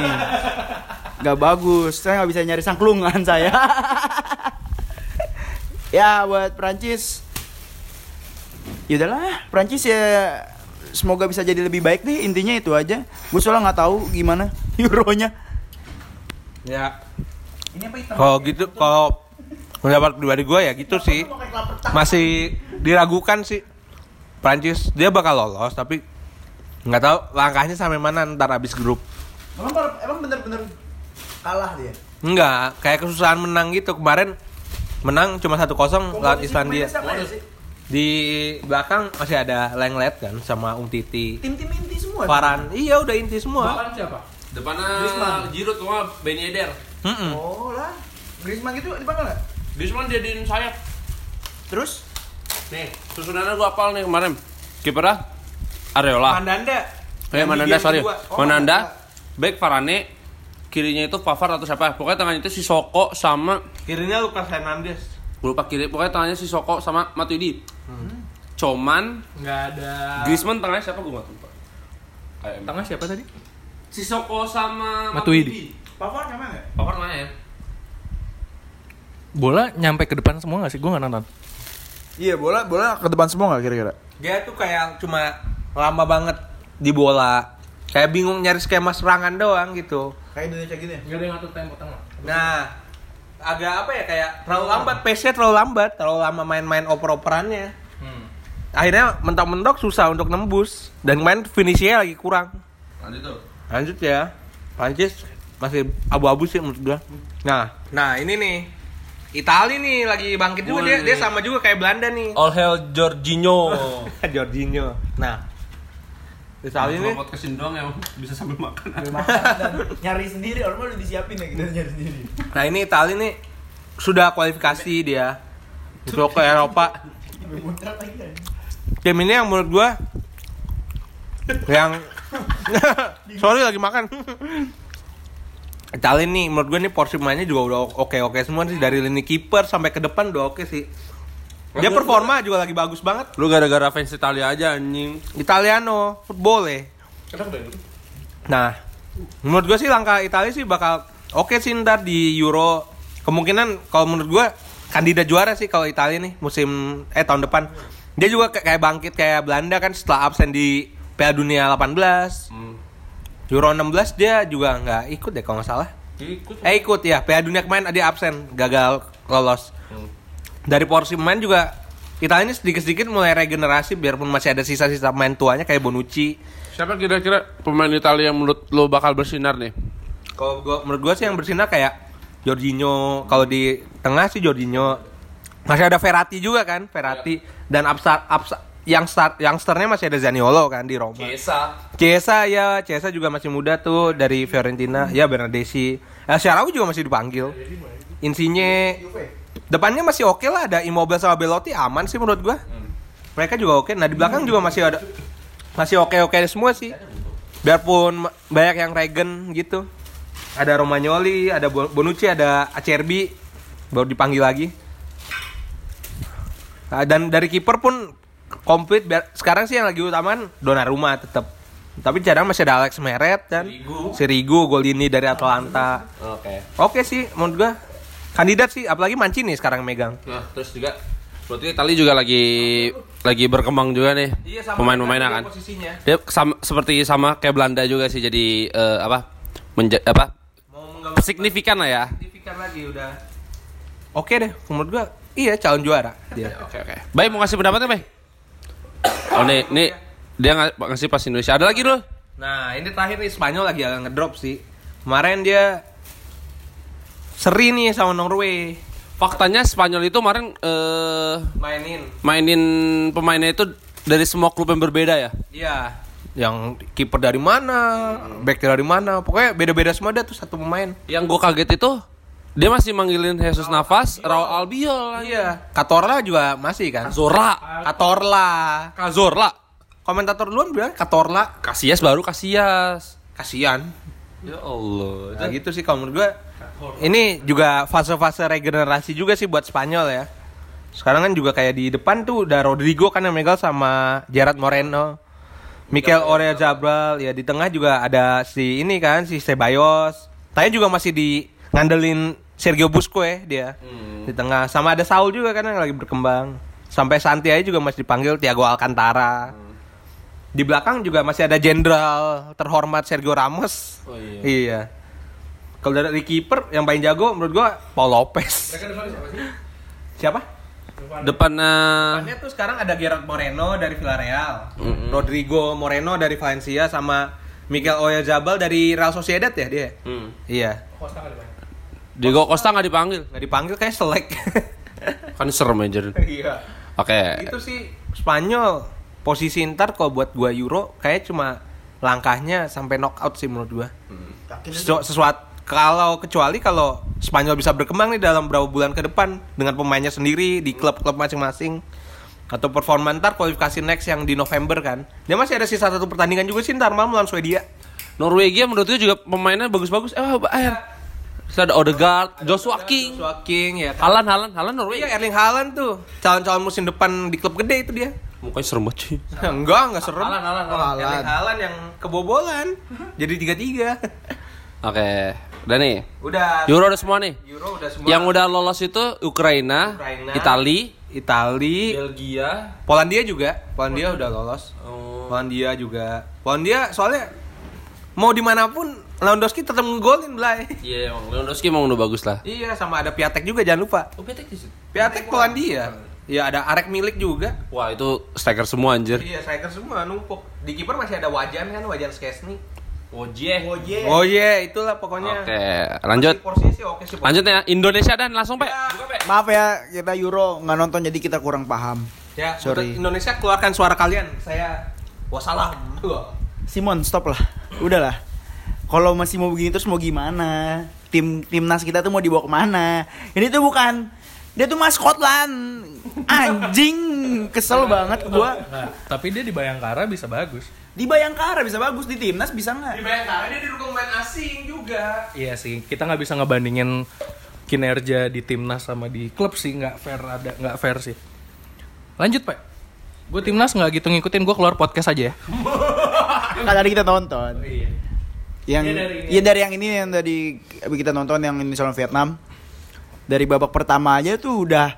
C: Gak bagus, saya nggak bisa nyari sangklungan <laughs> saya. ya buat Prancis, yaudahlah Prancis ya semoga bisa jadi lebih baik deh intinya itu aja. Gue soalnya nggak tahu gimana <laughs> Euronya.
B: Ya. Kalau gitu, kalau pendapat pribadi gue ya gitu sih. Masih diragukan sih. Prancis dia bakal lolos tapi nggak tahu langkahnya sampai mana ntar abis grup.
C: Emang emang bener-bener kalah dia.
B: Enggak, kayak kesusahan menang gitu kemarin menang cuma 1-0 lawan Islandia.
C: ya?
B: Di belakang masih ada Lenglet kan sama Umtiti.
C: Tim-tim inti semua.
B: Paran, iya udah inti semua.
D: siapa?
A: depannya Giroud cuma Ben Yedder.
B: Mm-mm.
C: Oh lah, Griezmann gitu dipanggil nggak?
A: Griezmann jadiin sayap.
C: Terus?
A: Nih, susunannya gua apal nih kemarin. Kipernya Areola.
B: Mandanda.
A: Eh,
B: Yang
A: Mananda
B: dia
A: sorry.
B: kedua. Oh,
A: Mananda, back Farane, kirinya itu Pavard atau siapa? Pokoknya tangannya itu si Soko sama
B: Kirinya Lucas Hernandez.
A: gua lupa kiri. Pokoknya tangannya si Soko sama Matuidi. Hmm. Coman,
D: Nggak ada.
A: Griezmann tengahnya siapa gua nggak lupa. Kayak emang.
D: Tengah siapa tadi?
A: Si Soko sama
D: Matuidi.
C: Pavard nyaman nggak?
A: Pavard mana ya?
D: Bola nyampe ke depan semua nggak sih? Gue nggak nonton.
C: Iya bola bola ke depan semua nggak kira-kira?
B: Dia tuh kayak cuma lama banget di bola. Kayak bingung nyari skema serangan doang gitu.
C: Kayak Indonesia gitu ya?
D: Nggak ada yang ngatur tempo tengah.
B: Nah, agak apa ya kayak terlalu lambat pace-nya terlalu lambat terlalu lama main-main oper-operannya akhirnya mentok-mentok susah untuk nembus dan main finishnya lagi kurang
A: Lanjut tuh.
B: lanjut ya Prancis masih abu-abu sih menurut gua nah nah ini nih Itali nih lagi bangkit juga dia dia sama juga kayak Belanda nih
A: All hail Jorginho.
B: Oh. <laughs> Jorginho nah Itali nih
A: podcast doang yang bisa sambil makan.
C: nyari sendiri orang mah udah disiapin ya kita nyari sendiri
B: Nah ini Itali nih sudah kualifikasi dia untuk ke Eropa. Tim ini yang menurut gua yang <laughs> sorry lagi makan. Itali nih menurut gua nih porsi mainnya juga udah oke oke semua sih dari lini kiper sampai ke depan udah oke sih. Dia performa juga lagi bagus banget.
A: Lu gara-gara fans Italia aja anjing.
B: Italiano football ya. Nah, menurut gue sih langkah Italia sih bakal oke sih ntar di Euro. Kemungkinan kalau menurut gue kandidat juara sih kalau Italia nih musim eh tahun depan. Dia juga kayak kayak bangkit kayak Belanda kan setelah absen di Piala Dunia 18. Euro 16 dia juga nggak ikut deh kalau nggak salah. Eh ikut ya, Piala Dunia kemarin dia absen, gagal lolos. Dari porsi pemain juga Italia ini sedikit-sedikit mulai regenerasi biarpun masih ada sisa-sisa pemain tuanya kayak Bonucci.
E: Siapa kira-kira pemain Italia yang menurut lo bakal bersinar nih?
B: Kalau gua menurut gua sih yang bersinar kayak Jorginho, kalau di tengah sih Jorginho. Masih ada Verratti juga kan, Verratti dan upstart, upstart yang start youngsternya masih ada Zaniolo kan di Roma.
A: Biasa.
B: Chiesa ya, Chiesa juga masih muda tuh dari Fiorentina. Ya Bernadeschi. Eh Syarawi juga masih dipanggil. Insigne depannya masih oke lah ada Immobile sama Belotti aman sih menurut gua. Mereka juga oke. Nah, di belakang juga masih ada masih oke-oke semua sih. Biarpun ma- banyak yang regen gitu. Ada Romagnoli, ada Bo- Bonucci, ada Acerbi baru dipanggil lagi. Nah, dan dari kiper pun komplit Biar- sekarang sih yang lagi utama Donnarumma tetap. Tapi jarang masih ada Alex Meret dan Sirigu, Golini dari Atalanta.
A: Oke.
B: Oke sih menurut gua kandidat sih apalagi Mancini sekarang megang.
A: Nah, terus juga berarti Italia juga lagi lagi berkembang juga nih. Pemain-pemainnya kan.
B: posisinya.
A: Dia sama, seperti sama kayak Belanda juga sih jadi eh, apa? Menja apa?
B: Mau menggambar
A: Signifikan lah ya.
B: signifikan lagi udah. Oke deh menurut gua iya calon juara dia.
A: Oke oke. Bay mau ngasih pendapatnya, Bay? Oh nih, nih dia nga- ngasih pas Indonesia. Ada lagi dulu.
B: Nah ini terakhir nih Spanyol lagi agak ngedrop sih. Kemarin dia seri nih sama Norway
A: Faktanya Spanyol itu kemarin eh,
B: mainin.
A: mainin pemainnya itu dari semua klub yang berbeda ya.
B: Iya. Yang kiper dari mana, back dari mana, pokoknya beda-beda semua dah tuh satu pemain.
A: Yang gue kaget itu dia masih manggilin Jesus Navas, Raul Albiol,
B: Iya. Katorla juga masih kan?
A: Zorla,
B: Katorla.
A: Kazorla,
B: Komentator duluan bilang Katorla.
A: Kasias baru Kasias.
B: Kasian.
A: Ya Allah.
B: Nah, gitu sih kalau menurut gue. Ini juga fase-fase regenerasi juga sih buat Spanyol ya. Sekarang kan juga kayak di depan tuh udah Rodrigo kan yang megal sama Gerard Moreno. Mikel Oyarzabal ya di tengah juga ada si ini kan si Ceballos. Tanya juga masih di ngandelin Sergio Busquets ya, dia di tengah sama ada Saul juga kan yang lagi berkembang. Sampai Santi aja juga masih dipanggil Thiago Alcantara. Di belakang juga masih ada jenderal terhormat Sergio Ramos.
A: Oh, iya.
B: Kalau dari kiper yang paling jago menurut gua Paul Lopez. Siapa?
A: Depannya
B: Depannya tuh sekarang ada Gerard Moreno dari Villarreal, Rodrigo Moreno dari Valencia sama Miguel Oyarzabal dari Real Sociedad ya dia.
A: hmm.
B: Iya.
A: Diego Costa nggak dipanggil.
B: Nggak dipanggil kayak selek.
A: Kan serem aja. Oke.
B: <laughs> Iya. Itu sih Spanyol posisi ntar kalau buat gua Euro kayak cuma langkahnya sampai knockout sih menurut gua. Sesu- sesuatu kalau kecuali kalau Spanyol bisa berkembang nih dalam beberapa bulan ke depan dengan pemainnya sendiri di klub-klub masing-masing atau performa ntar kualifikasi next yang di November kan dia masih ada sisa satu pertandingan juga sih ntar malam lawan Swedia
A: Norwegia menurut gue juga pemainnya bagus-bagus. Eh, air. Terus ada Odegaard, Joshua King,
B: Joshua King ya kan
A: Halan, Halan, Halan
B: iya
A: Norwegia.
B: Erling Haaland tuh calon-calon musim depan di klub gede itu dia
A: Mukanya serem banget sih.
B: enggak enggak serem
A: Haaland, Haaland, Haaland.
B: Erling Haaland yang kebobolan <laughs> jadi tiga tiga
A: Oke, udah nih.
B: udah
A: Euro udah semua nih.
B: Euro udah semua
A: Yang udah lolos itu Ukraina,
B: Ukraina,
A: Itali,
B: Itali
A: Belgia,
B: Polandia juga Oh. Polandia udah lolos Polandia juga. Polandia soalnya mau dimanapun Lewandowski tetap ngegolin Blay.
A: Iya, emang Lewandowski emang udah bagus lah.
B: Iya, sama ada Piatek juga jangan lupa.
A: Oh, Piatek di situ.
B: Piatek Polandia. Ya ada Arek Milik juga.
A: Wah, itu striker semua anjir.
B: Iya, striker semua numpuk. Di kiper masih ada Wajan kan, Wajan Skesni.
C: Eh.
A: Ojeh.
B: Oh iya, itulah pokoknya.
A: Oke, lanjut.
B: Porsinya sih oke sih. Pak.
A: Lanjut ya, Indonesia dan langsung, Pak.
C: Maaf ya, kita Euro nggak nonton jadi kita kurang paham.
B: Ya,
C: Sorry.
B: untuk Indonesia keluarkan suara kalian. Saya wassalam.
C: Simon, stop lah. Udahlah. Kalau masih mau begini terus mau gimana? Tim timnas kita tuh mau dibawa kemana? Ini tuh bukan dia tuh mas Scotland. Anjing, kesel banget gua.
D: Nah, tapi dia di Bayangkara bisa bagus.
C: Di Bayangkara bisa bagus, di timnas bisa nggak?
B: Bayangkara dia didukung main asing juga.
D: Iya sih, kita nggak bisa ngebandingin kinerja di timnas sama di klub sih nggak fair ada nggak fair sih. Lanjut pak, gue timnas nggak gitu ngikutin gue keluar podcast aja ya.
C: Kan tadi kita tonton. Yang ya iya. dari, yang ini yang tadi kita nonton yang ini soal Vietnam. Dari babak pertama aja tuh udah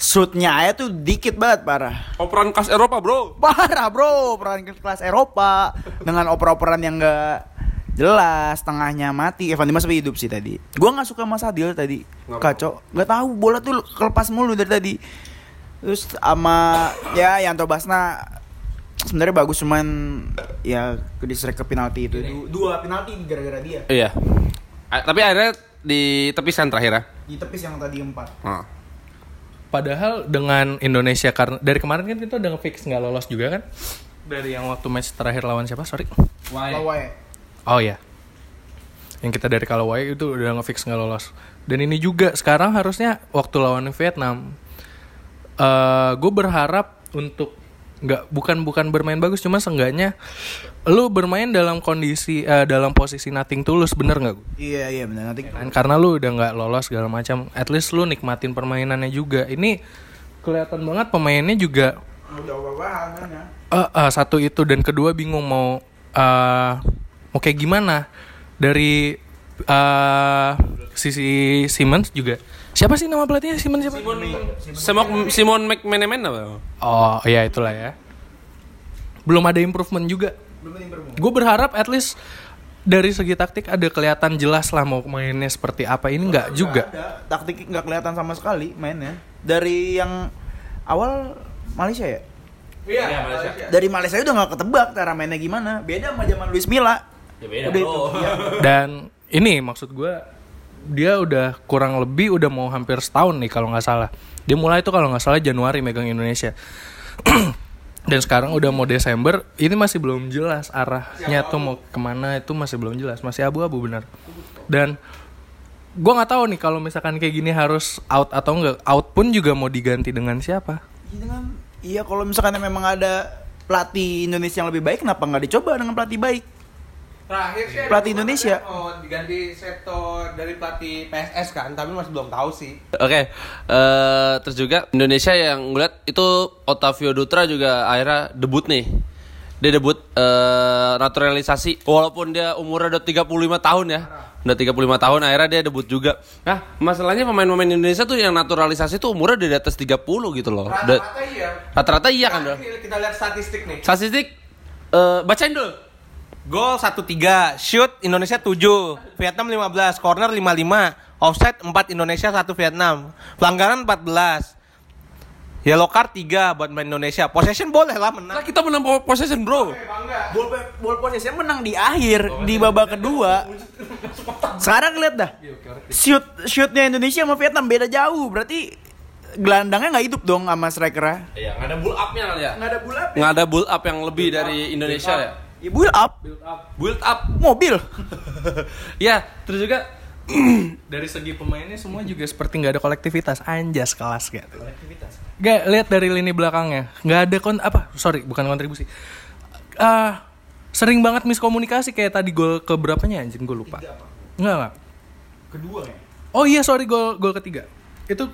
C: shootnya aja tuh dikit banget parah.
E: Operan khas Eropa, Bro.
C: Parah bro, peran ke- kelas Eropa dengan oper-operan yang enggak jelas, tengahnya mati. Evan Dimas sampai hidup sih tadi. Gua nggak suka Mas Adil tadi. Kacau. Nggak tahu bola tuh kelepas mulu dari tadi. Terus sama ya Yanto Basna sebenarnya bagus cuman ya ke distrek ke penalti itu. Du- Dua penalti gara-gara dia.
A: Iya. A- tapi akhirnya di tepisan terakhir ya.
C: Di tepis yang tadi empat.
A: Heeh.
D: Padahal dengan Indonesia karena dari kemarin kan kita udah fix nggak lolos juga kan? Dari yang waktu match terakhir lawan siapa? Sorry.
B: iya.
C: Lawae.
D: Oh ya. Yang kita dari Kalawai itu udah ngefix nggak lolos. Dan ini juga sekarang harusnya waktu lawan Vietnam. eh gue berharap untuk nggak bukan bukan bermain bagus cuma seenggaknya lu bermain dalam kondisi eh, dalam posisi nothing tulus bener nggak
C: Iya iya benar nanti.
D: Kan karena lu udah nggak lolos segala macam at least lu nikmatin permainannya juga ini kelihatan banget pemainnya juga
C: ya?
D: Eh, eh, satu itu dan kedua bingung mau eh, mau kayak gimana dari eh, sisi Simmons juga siapa sih nama pelatihnya Simmons siapa
A: Simon Simon McManaman apa?
D: oh ya itulah ya belum ada improvement juga gue berharap at least dari segi taktik ada kelihatan jelas lah mau mainnya seperti apa ini nggak juga
C: ada taktik nggak kelihatan sama sekali mainnya dari yang awal Malaysia ya
B: Iya, Malaysia.
C: dari Malaysia udah nggak ketebak cara mainnya gimana beda sama zaman Luis Milla
A: Ya beda.
C: udah itu Iya.
D: Dan ini maksud gue dia udah kurang lebih udah mau hampir setahun nih kalau nggak salah. Dia mulai itu kalau nggak salah Januari megang Indonesia. <clears throat> Dan sekarang udah mau Desember, ini masih belum jelas arahnya tuh mau kemana itu masih belum jelas, masih abu-abu benar. Dan gue nggak tahu nih kalau misalkan kayak gini harus out atau enggak. Out pun juga mau diganti dengan siapa?
C: <laughs> Iya, dengan iya kalau misalkan memang ada pelatih Indonesia yang lebih baik kenapa nggak dicoba dengan pelatih baik
B: Terakhir sih ada
C: Pelatih
B: rumor
C: Indonesia.
B: ada Mau diganti Seto dari pelatih PSS kan, tapi masih belum tahu sih.
A: Oke, eh, terus juga Indonesia yang gue liat itu Otavio Dutra juga akhirnya debut nih. Dia debut eh, naturalisasi walaupun dia umurnya udah 35 tahun ya. Udah 35 tahun akhirnya dia debut juga. Nah, masalahnya pemain-pemain Indonesia tuh yang naturalisasi tuh umurnya udah di atas 30 gitu loh. Udah-
B: Rata-rata iya.
A: Rata-rata iya kan, Bro?
B: Ini Kita lihat statistik nih.
A: Statistik eh, bacain dulu.
B: Gol 1-3, shoot Indonesia 7, Vietnam 15, corner 55, offside 4 Indonesia 1 Vietnam, pelanggaran 14. Yellow card 3 buat main Indonesia. Possession boleh lah menang.
A: Nah, kita menang po- possession, Bro.
C: ball, ball possession menang di akhir di babak kedua Oh, iya. <laughs> sekarang lihat dah shoot shootnya Indonesia sama Vietnam beda jauh berarti gelandangnya nggak hidup dong sama strikernya
A: Iya, nggak ada bull up-nya kali ya.
C: nggak ada bulat
A: Nggak ada build up yang lebih dari Indonesia ya.
C: ya build up
A: Build up.
C: mobil
A: Ya, terus juga
D: <clears throat> dari segi pemainnya semua juga seperti nggak ada kolektivitas anjas kelas gak tuh gak lihat dari lini belakangnya nggak ada kon apa sorry bukan kontribusi ah sering banget miskomunikasi kayak tadi gol ke berapanya anjing gue lupa nggak nggak
C: kedua ya
D: oh iya sorry gol gol ketiga itu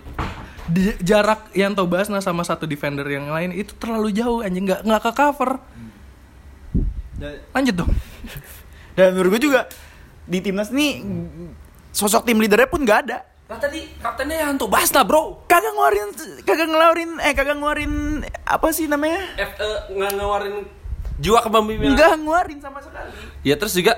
D: di- jarak Yanto Basna sama satu defender yang lain itu terlalu jauh anjing nggak nggak ke cover
C: Hmm.
D: lanjut dong
C: Dan menurut gue juga di timnas nih sosok tim leadernya pun gak ada.
A: Nah tadi kaptennya Yanto Basna bro
C: Kagak ngeluarin, kagak ngeluarin, eh kagak ngeluarin apa sih namanya?
A: F, eh, nggak ngeluarin jiwa kepemimpinan
C: Enggak ngeluarin sama sekali.
A: Ya terus Iya, juga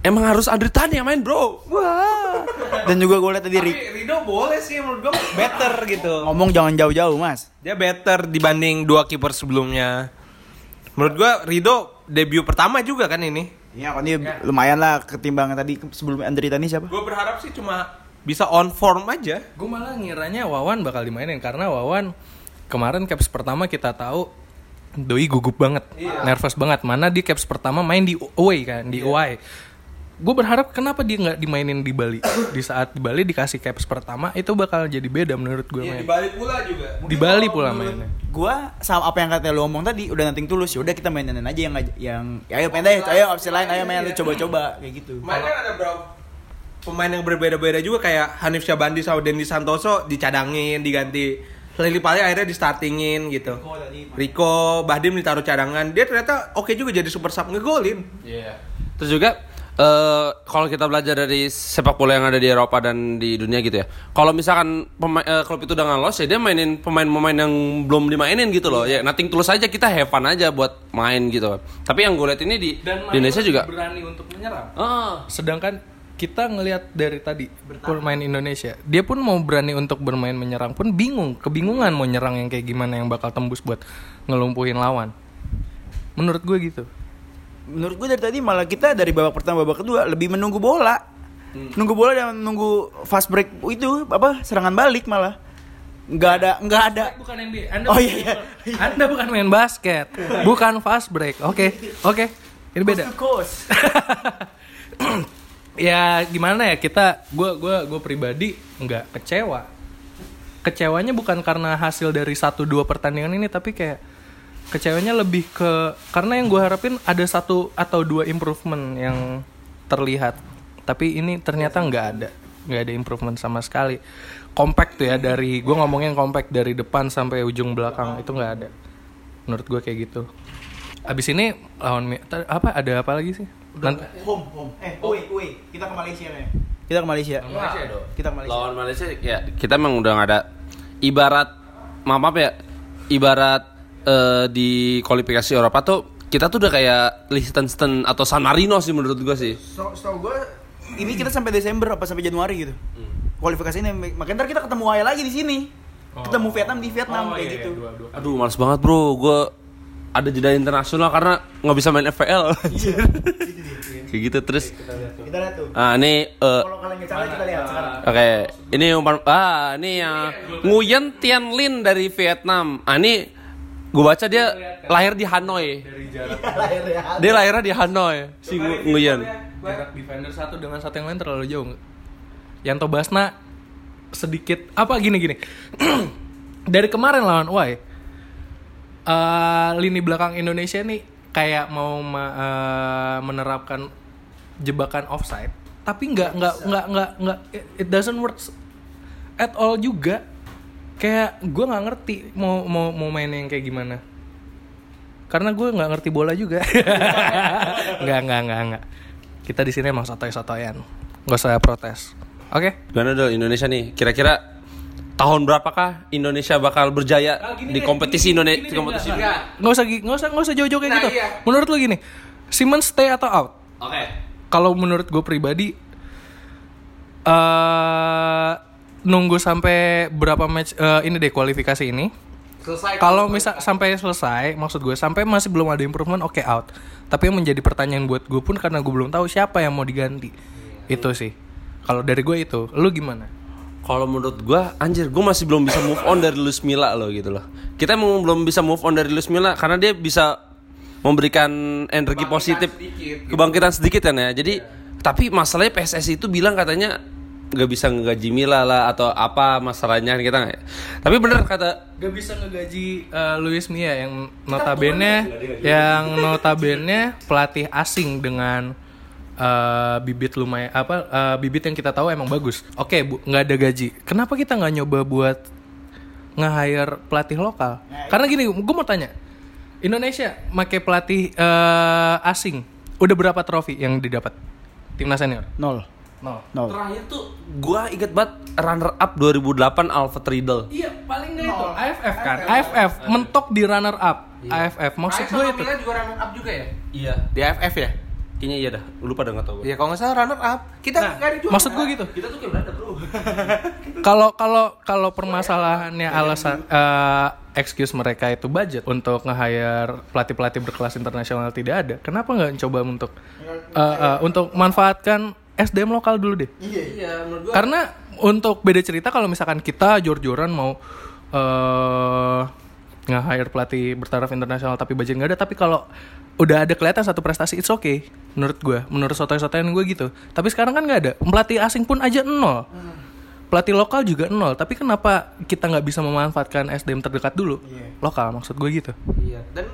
A: emang harus Andri Tani yang main bro
C: Wah. Dan juga gue lihat tadi
B: Tapi
C: Rick
B: Rido boleh sih menurut gue better gitu.
C: ngomong jangan jauh-jauh mas.
B: Dia better dibanding dua kiper sebelumnya. Menurut gua Rido debut pertama juga kan ini.
C: Iya, kan dia lumayan lah ketimbangan tadi sebelum Andri Tani siapa?
B: Gua berharap sih cuma bisa on form aja.
D: Gue malah ngiranya Wawan bakal dimainin karena Wawan kemarin caps pertama kita tahu doi gugup banget, nervous banget. Mana di caps pertama main di away kan, di away. Gue berharap kenapa dia nggak dimainin di Bali. <coughs> di saat di Bali dikasih caps pertama itu bakal jadi beda menurut gue main.
B: Bali Iya, pula juga.
D: Di Iya, Bali pula mainnya.
C: Gua sama apa yang kata lu omong tadi udah nanting tulus ya udah kita mainin aja yang yang ya ayo main deh, ayo opsi lain, ayo main lu coba-coba kayak gitu.
B: Kemarin kan ada bro pemain yang berbeda-beda juga kayak Hanif Syabandi sama Dendi Santoso dicadangin, diganti. Lili Pali akhirnya di startingin gitu. Rico, Bahdim ditaruh cadangan. Dia ternyata oke juga jadi super sub ngegolin.
A: Terus juga eh kalau kita belajar dari sepak bola yang ada di Eropa dan di dunia gitu ya. Kalau misalkan pemain eh, klub itu udah ngalos ya dia mainin pemain-pemain yang belum dimainin gitu loh. Ya nothing tulus aja kita have fun aja buat main gitu. Tapi yang gue lihat ini di, di Indonesia juga
D: berani untuk menyerang.
A: Ah,
D: Sedangkan kita ngelihat dari tadi pemain Indonesia, dia pun mau berani untuk bermain menyerang pun bingung, kebingungan mau nyerang yang kayak gimana yang bakal tembus buat ngelumpuhin lawan. Menurut gue gitu.
C: Menurut gue dari tadi malah kita dari babak pertama babak kedua lebih menunggu bola. Nunggu bola dan menunggu fast break itu apa serangan balik malah. Nggak ada nggak ada.
D: Bukan NBA, Anda,
C: Oh iya. iya.
D: Anda bukan main basket, bukan fast break. Oke, oke. Ini beda.
C: Coast.
D: ya gimana ya kita gua gua gua pribadi nggak kecewa kecewanya bukan karena hasil dari satu dua pertandingan ini tapi kayak kecewanya lebih ke karena yang gua harapin ada satu atau dua improvement yang terlihat tapi ini ternyata nggak ada nggak ada improvement sama sekali compact tuh ya dari gua ngomongin compact dari depan sampai ujung belakang itu nggak ada menurut gua kayak gitu abis ini lawan Mi- ta- apa ada apa lagi sih Nan-
C: Home, home. Eh, uwe, uwe. Kita ke Malaysia nih. Kita ke Malaysia. Kita ke Malaysia.
A: lawan Malaysia ya kita emang udah nggak ada ibarat maaf, maaf ya ibarat eh, di kualifikasi Eropa tuh kita tuh udah kayak Liechtenstein atau San Marino sih menurut gue sih.
C: So, setahu gue ini kita sampai Desember apa sampai Januari gitu. Kualifikasi ini makanya ntar kita ketemu Hawaii lagi di sini. Ketemu Vietnam di Vietnam kayak gitu.
A: Aduh males banget bro, gue ada jeda internasional karena nggak bisa main <laughs>
C: Iya,
A: FPL anjir. Kayak gitu terus.
C: Kita lihat tuh.
A: Ah ini eh,
C: Kalau kalian nggak salah kita lihat sekarang.
A: oke ini umpan ah
C: Iya,
A: ini yang Nguyen Tien Lin dari Vietnam. Ah ini gue baca dia
C: kan?
A: lahir di Hanoi.
C: Iya,
A: Dia lahirnya di Hanoi si Ngu- Nguyen.
C: ya.
D: jarak defender satu dengan satu yang lain terlalu jauh nggak? Yanto Basna sedikit apa gini gini <clears throat> dari kemarin lawan Uai eh, lini belakang Indonesia nih kayak mau ma- eh, menerapkan jebakan offside tapi nggak nggak nggak nggak nggak it- it doesn't work at all juga kayak gue nggak ngerti mau mau mau main yang kayak gimana karena gue nggak ngerti bola juga nggak nggak nggak nggak kita di sini emang sotoy sotoyan nggak usah protes oke
A: Gimana dong Indonesia nih? Kira-kira tahun berapakah Indonesia bakal
C: Nah,
A: berjaya di kompetisi Indonesia? Kompetisi dunia?
B: Ya,
D: nggak usah gi- nggak usah nggak usah jauh-jauh kayak gitu menurut lo gini Simmons stay atau out
A: Oke.
D: kalau menurut gue pribadi eh nunggu sampai berapa match eh, ini deh kualifikasi ini selesai kalau misal sampai selesai maksud gue sampai masih belum ada improvement oke out tapi yang menjadi pertanyaan buat gue pun karena gue belum tahu siapa yang mau diganti itu sih kalau dari gue itu lu gimana
A: Kalau menurut gua, anjir gua masih belum bisa move on dari Luis Milla loh gitu loh. Kita emang belum bisa move on dari Luis Milla karena dia bisa memberikan energi positif, kebangkitan sedikit kan ya. Jadi tapi masalahnya PSSI itu bilang katanya nggak bisa ngegaji Milla lah atau apa masalahnya kan kita nggak. ya. Tapi bener kata
D: Gak bisa ngegaji eh, Luis Mia yang notabene yang notabene pelatih asing dengan eh, bibit lumayan apa eh, bibit yang kita tahu emang bagus. Oke, Bu, nggak ada gaji. Kenapa kita nggak nyoba buat nge-hire pelatih lokal? Karena gini, gue mau tanya. Indonesia make pelatih eh, asing. Udah berapa trofi yang didapat timnas senior?
C: Nol.
D: Nol.
C: Nol.
A: terakhir tuh gua inget banget runner up 2008 Alfred Riedel.
D: Iya, paling nggak itu AFF kan. AFF mentok di runner up. AFF maksud gue itu.
B: juga runner up juga ya?
A: Iya.
B: Di AFF ya?
A: Kayaknya iya dah, lupa dah nggak tahu. gua.
B: Ya kalau nggak salah runner up. Kita
C: nah.
B: nggak ada juara.
D: Maksud gue gitu.
A: Kita tuh kayak berada bro.
D: Kalau kalau kalau permasalahannya alasan eh, excuse mereka itu budget untuk nge-hire pelatih-pelatih berkelas internasional tidak ada. Kenapa nggak coba untuk eh, eh, untuk manfaatkan SDM lokal dulu deh?
A: Iya, menurut gua
D: Karena untuk beda cerita kalau misalkan kita jor-joran mau eh nge-hire pelatih bertaraf internasional tapi budget nggak ada, tapi kalau udah ada kelihatan satu prestasi it's okay menurut gue menurut sotoy-sotoyan gue gitu tapi sekarang kan nggak ada pelatih asing pun aja nol
A: Hmm.
D: pelatih lokal juga nol tapi kenapa kita nggak bisa memanfaatkan SDM terdekat dulu
A: Iya.
D: lokal maksud gue gitu
B: Iya. Dan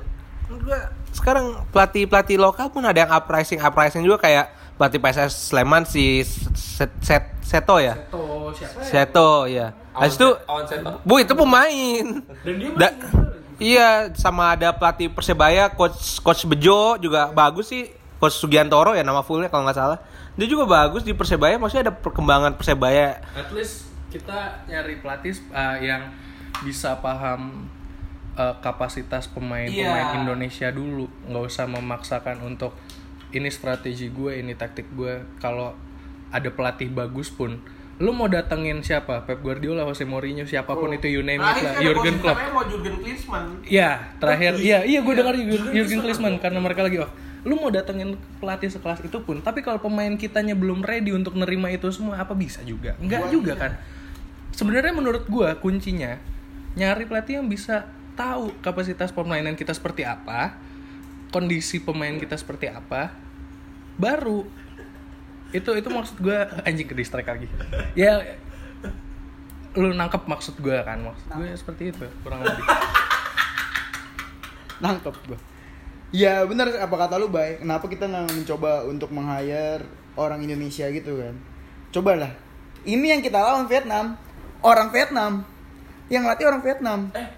B: menurut gue sekarang pelatih pelatih lokal pun ada yang uprising uprising juga kayak pelatih PSS Sleman si Set, Set, Seto ya. Seto ya. Habis itu
A: Awan Seto.
B: Bu itu pemain. Da- Iya, sama ada pelatih Persebaya, coach coach Bejo juga bagus sih. Coach Sugiantoro ya nama fullnya kalau nggak salah. Dia juga bagus di Persebaya, maksudnya ada perkembangan Persebaya.
D: At least kita nyari pelatih uh, yang bisa paham uh, kapasitas pemain-pemain
B: Iya.
D: Indonesia dulu, nggak usah memaksakan untuk ini strategi gue, ini taktik gue. Kalau ada pelatih bagus pun, lu mau datengin siapa? Pep Guardiola, Jose Mourinho, siapapun itu you
B: Nah,
D: name it lah, Jurgen Klopp.
B: mau Jurgen Klinsmann.
D: Ya, terakhir. Iya, iya gue dengar Jur- Jurgen Klinsmann karena mereka lagi off. Lu mau datengin pelatih sekelas itu pun, tapi kalau pemain kitanya belum ready untuk nerima itu semua, apa bisa juga? Enggak juga kan. Sebenarnya menurut gua kuncinya nyari pelatih yang bisa tahu kapasitas permainan kita seperti apa, kondisi pemain kita seperti apa, baru itu itu maksud gua anjing ke distract lagi. Ya lu nangkep maksud gua kan maksud gue seperti itu kurang lebih.
C: nangkep gue ya benar apa kata lu baik kenapa kita nggak mencoba untuk meng-hire orang Indonesia gitu kan cobalah ini yang kita lawan Vietnam orang Vietnam yang latih orang Vietnam
A: Eh,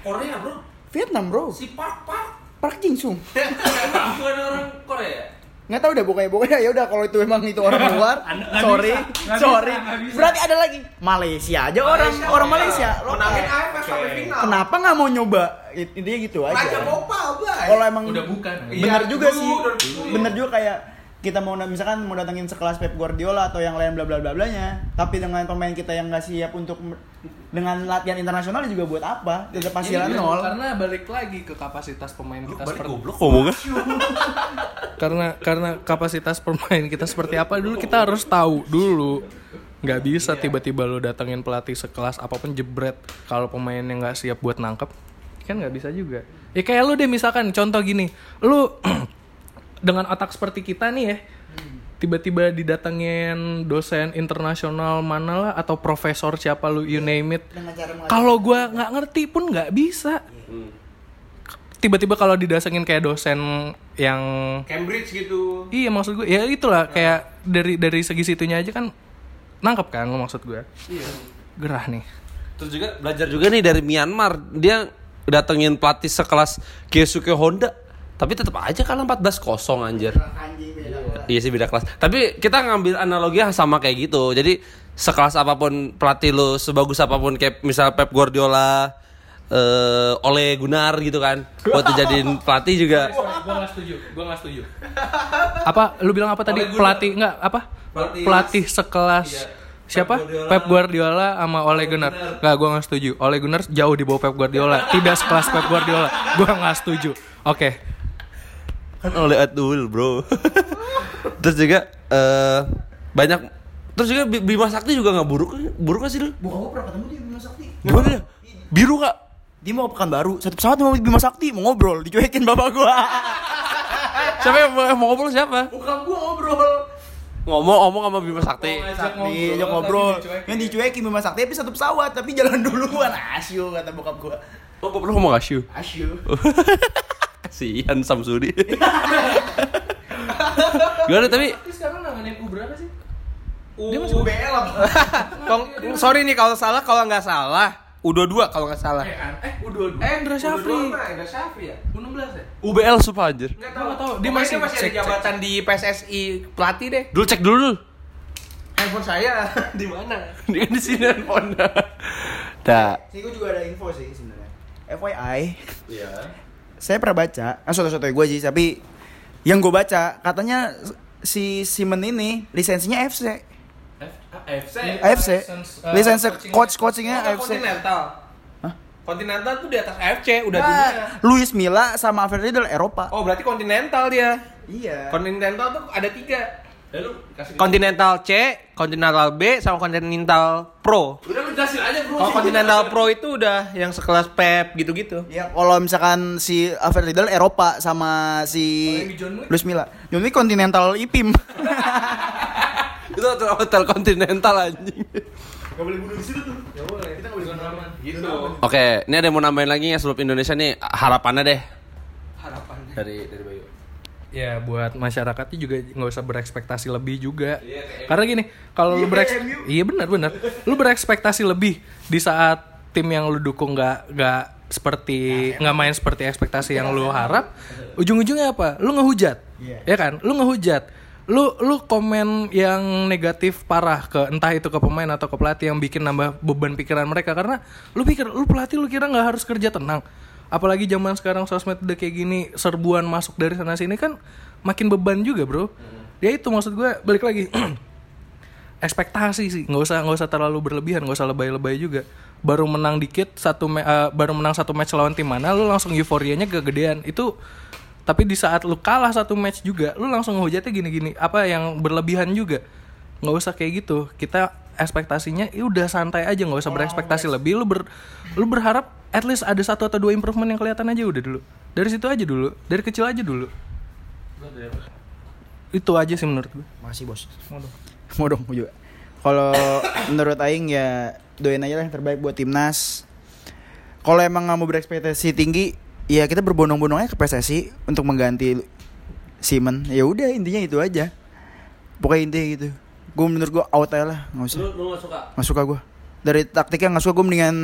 A: Korea bro.
C: Vietnam bro
A: Si Park Park.
C: Park Jing Sung
A: <laughs> Bukan orang Korea.
C: nggak tahu udah pokoknya pokoknya ya udah kalau itu emang itu orang
A: <laughs>
C: luar sorry sorry berarti ada lagi Malaysia aja orang orang Malaysia
B: Menangin
C: lokal.
B: AFF sampai final.
C: kenapa nggak mau nyoba It- intinya gitu
B: Raja
C: aja
B: Bopal, Blay.
C: kalau emang
D: Udah bukan.
C: benar
B: Iya,
C: juga
B: dulu,
C: sih
B: udah dulu.
C: benar juga kayak kita mau na- misalkan mau datangin sekelas Pep Guardiola atau yang lain bla bla bla blanya tapi dengan pemain kita yang nggak siap untuk me- dengan latihan internasional juga buat apa tetap
D: Ini
C: hasilnya
D: dia,
C: nol
D: Karena balik lagi ke kapasitas pemain kita seperti
B: ngomongnya.
D: karena karena kapasitas pemain kita seperti apa dulu kita harus tahu dulu. Nggak bisa
C: Iya.
D: tiba-tiba lo datengin pelatih sekelas apapun jebret kalau pemainnya nggak siap buat nangkep kan nggak bisa juga. Ya kayak lu deh misalkan contoh gini, lu <clears throat> dengan otak seperti kita nih ya tiba-tiba didatengin dosen internasional mana lah atau profesor siapa lu you name it
C: dengan cara mengajar Iya.
D: kalau gua nggak ngerti pun nggak bisa tiba-tiba kalau didasengin kayak dosen yang
B: Cambridge gitu.
D: iya maksud gue ya itulah kayak dari dari segi situnya aja kan nangkep kan lo maksud gue gerah nih
A: Terus juga belajar juga nih dari Myanmar. Dia datengin pelatih sekelas Keisuke Honda, tapi tetap aja kalah 14-0 anjir.
C: anjing beda bola.
A: Iya sih beda kelas. Tapi kita ngambil analogi yang sama kayak gitu. Jadi sekelas apapun pelatih lu sebagus apapun kayak misal Pep Guardiola eh oleh Gunar gitu kan. Buat dijadiin pelatih
C: <laughs>
A: juga.
D: gue nggak setuju gue nggak setuju apa lu bilang apa tadi pelatih nggak apa
A: Pelatih-
D: pelatih, sekelas siapa Pep Guardiola sama Ole Gunnar nggak gue nggak setuju Ole Gunnar jauh di bawah Pep Guardiola tidak sekelas Pep Guardiola gue nggak setuju oke
A: kan oleh Atul bro <laughs> terus juga eh, banyak terus juga Bi- Bima Sakti juga nggak buruk buruk nggak sih lu
C: bokap gue pernah ketemu dia Bima Sakti
A: gimana dia biru nggak
C: dia mau pekan baru satu pesawat sama Bima Sakti mau ngobrol dicuekin bapak gua
A: siapa yang mau, mau ngobrol siapa
C: bokap gua ngobrol
A: ngomong ngomong sama Bima Sakti
C: Sakti ajak ngobrol yang dicuekin Bima Sakti tapi satu pesawat tapi jalan duluan asyu kata bokap gua
A: oh gue perlu ngomong asyu
C: asyu
A: kasihan
C: <laughs>
A: Samsudi gimana tapi
D: sekarang nanganin U berapa sih?
B: Dia masih UBL Sorry nih kalau salah, kalau nggak salah. U22 kalau nggak salah.
D: Eh, U22. Eh, Indra Syafri. U16 ya?
A: UBL sumpah anjir
B: Nggak
D: Gua nggak tahu.
B: Dia
D: Dia
B: masih,
D: masih
B: masih
D: cek,
B: ada jabatan di PSSI pelatih deh.
A: dulu cek dulu dulu
B: Handphone saya <laughs> di mana?
A: <laughs> dia kan di sini handphone dah
C: Sih gue juga ada info sih sebenarnya. FYI. Iya. Saya pernah baca, ah soto-soto gue sih, tapi Yang gue baca katanya si Simon ini lisensinya FC. AFC.
D: eh,
C: Lisensi coach
B: Oh,
C: coachingnya AFC.
B: Continental.
C: Hah?
B: Continental tuh di atas AFC udah dunia.
C: Ah, Luis Milla sama Alfred Riedel Eropa.
B: Oh, berarti Continental dia.
C: Iya.
B: Continental tuh ada tiga. Ya, Continental C, Continental B, sama Continental Pro.
A: Udah lu jelasin aja bro.
B: Kalau Continental Pro itu udah yang sekelas Pep gitu-gitu.
C: Ya kalau misalkan si Alfred Riedel Eropa sama si Luis Milla. John Wick Continental IPIM.
A: Itu hotel, hotel kontinental anjing. Oke, ini ada yang mau nambahin lagi ya sebelum Indonesia nih harapannya deh. Harapan dari dari Bayu.
D: Ya buat masyarakatnya juga nggak usah berekspektasi lebih juga. Karena gini, kalau lu bereks iya benar benar. Lu berekspektasi lebih di saat tim yang lu dukung nggak nggak seperti nggak main seperti ekspektasi yang lu harap, ujung-ujungnya apa? Lu ngehujat. Ya kan? Lu ngehujat. Lu lu komen yang negatif parah ke entah itu ke pemain atau ke pelatih yang bikin nambah beban pikiran mereka karena lu pikir lu pelatih lu kira nggak harus kerja tenang apalagi zaman sekarang sosmed udah kayak gini serbuan masuk dari sana sini kan makin beban juga bro ya itu maksud gue balik lagi <clears throat> ekspektasi sih nggak usah nggak usah terlalu berlebihan nggak usah lebay-lebay juga baru menang dikit satu ma- eh, baru menang satu match lawan tim mana lu langsung euforianya kegedean itu tapi di saat lu kalah satu match juga lu langsung ngehujatnya gini-gini apa yang berlebihan juga nggak usah kayak gitu kita ekspektasinya ya udah santai aja nggak usah berekspektasi lebih lu ber lu berharap at least ada satu atau dua improvement yang kelihatan aja udah dulu dari situ aja dulu dari kecil aja dulu itu aja sih menurut gue
C: Makasih bos. <laughs> Mau dong, mau juga. Kalau <coughs> menurut Aing ya doain aja lah yang terbaik buat timnas. Kalau emang nggak mau berekspektasi tinggi, ya kita berbondong-bondongnya ke PSSI untuk mengganti Simon. Ya udah intinya itu aja. Pokoknya intinya gitu. Gue menurut gue out aja lah, nggak usah.
A: Lu gak suka?
C: Nggak suka gue. Dari taktiknya nggak suka gue mendingan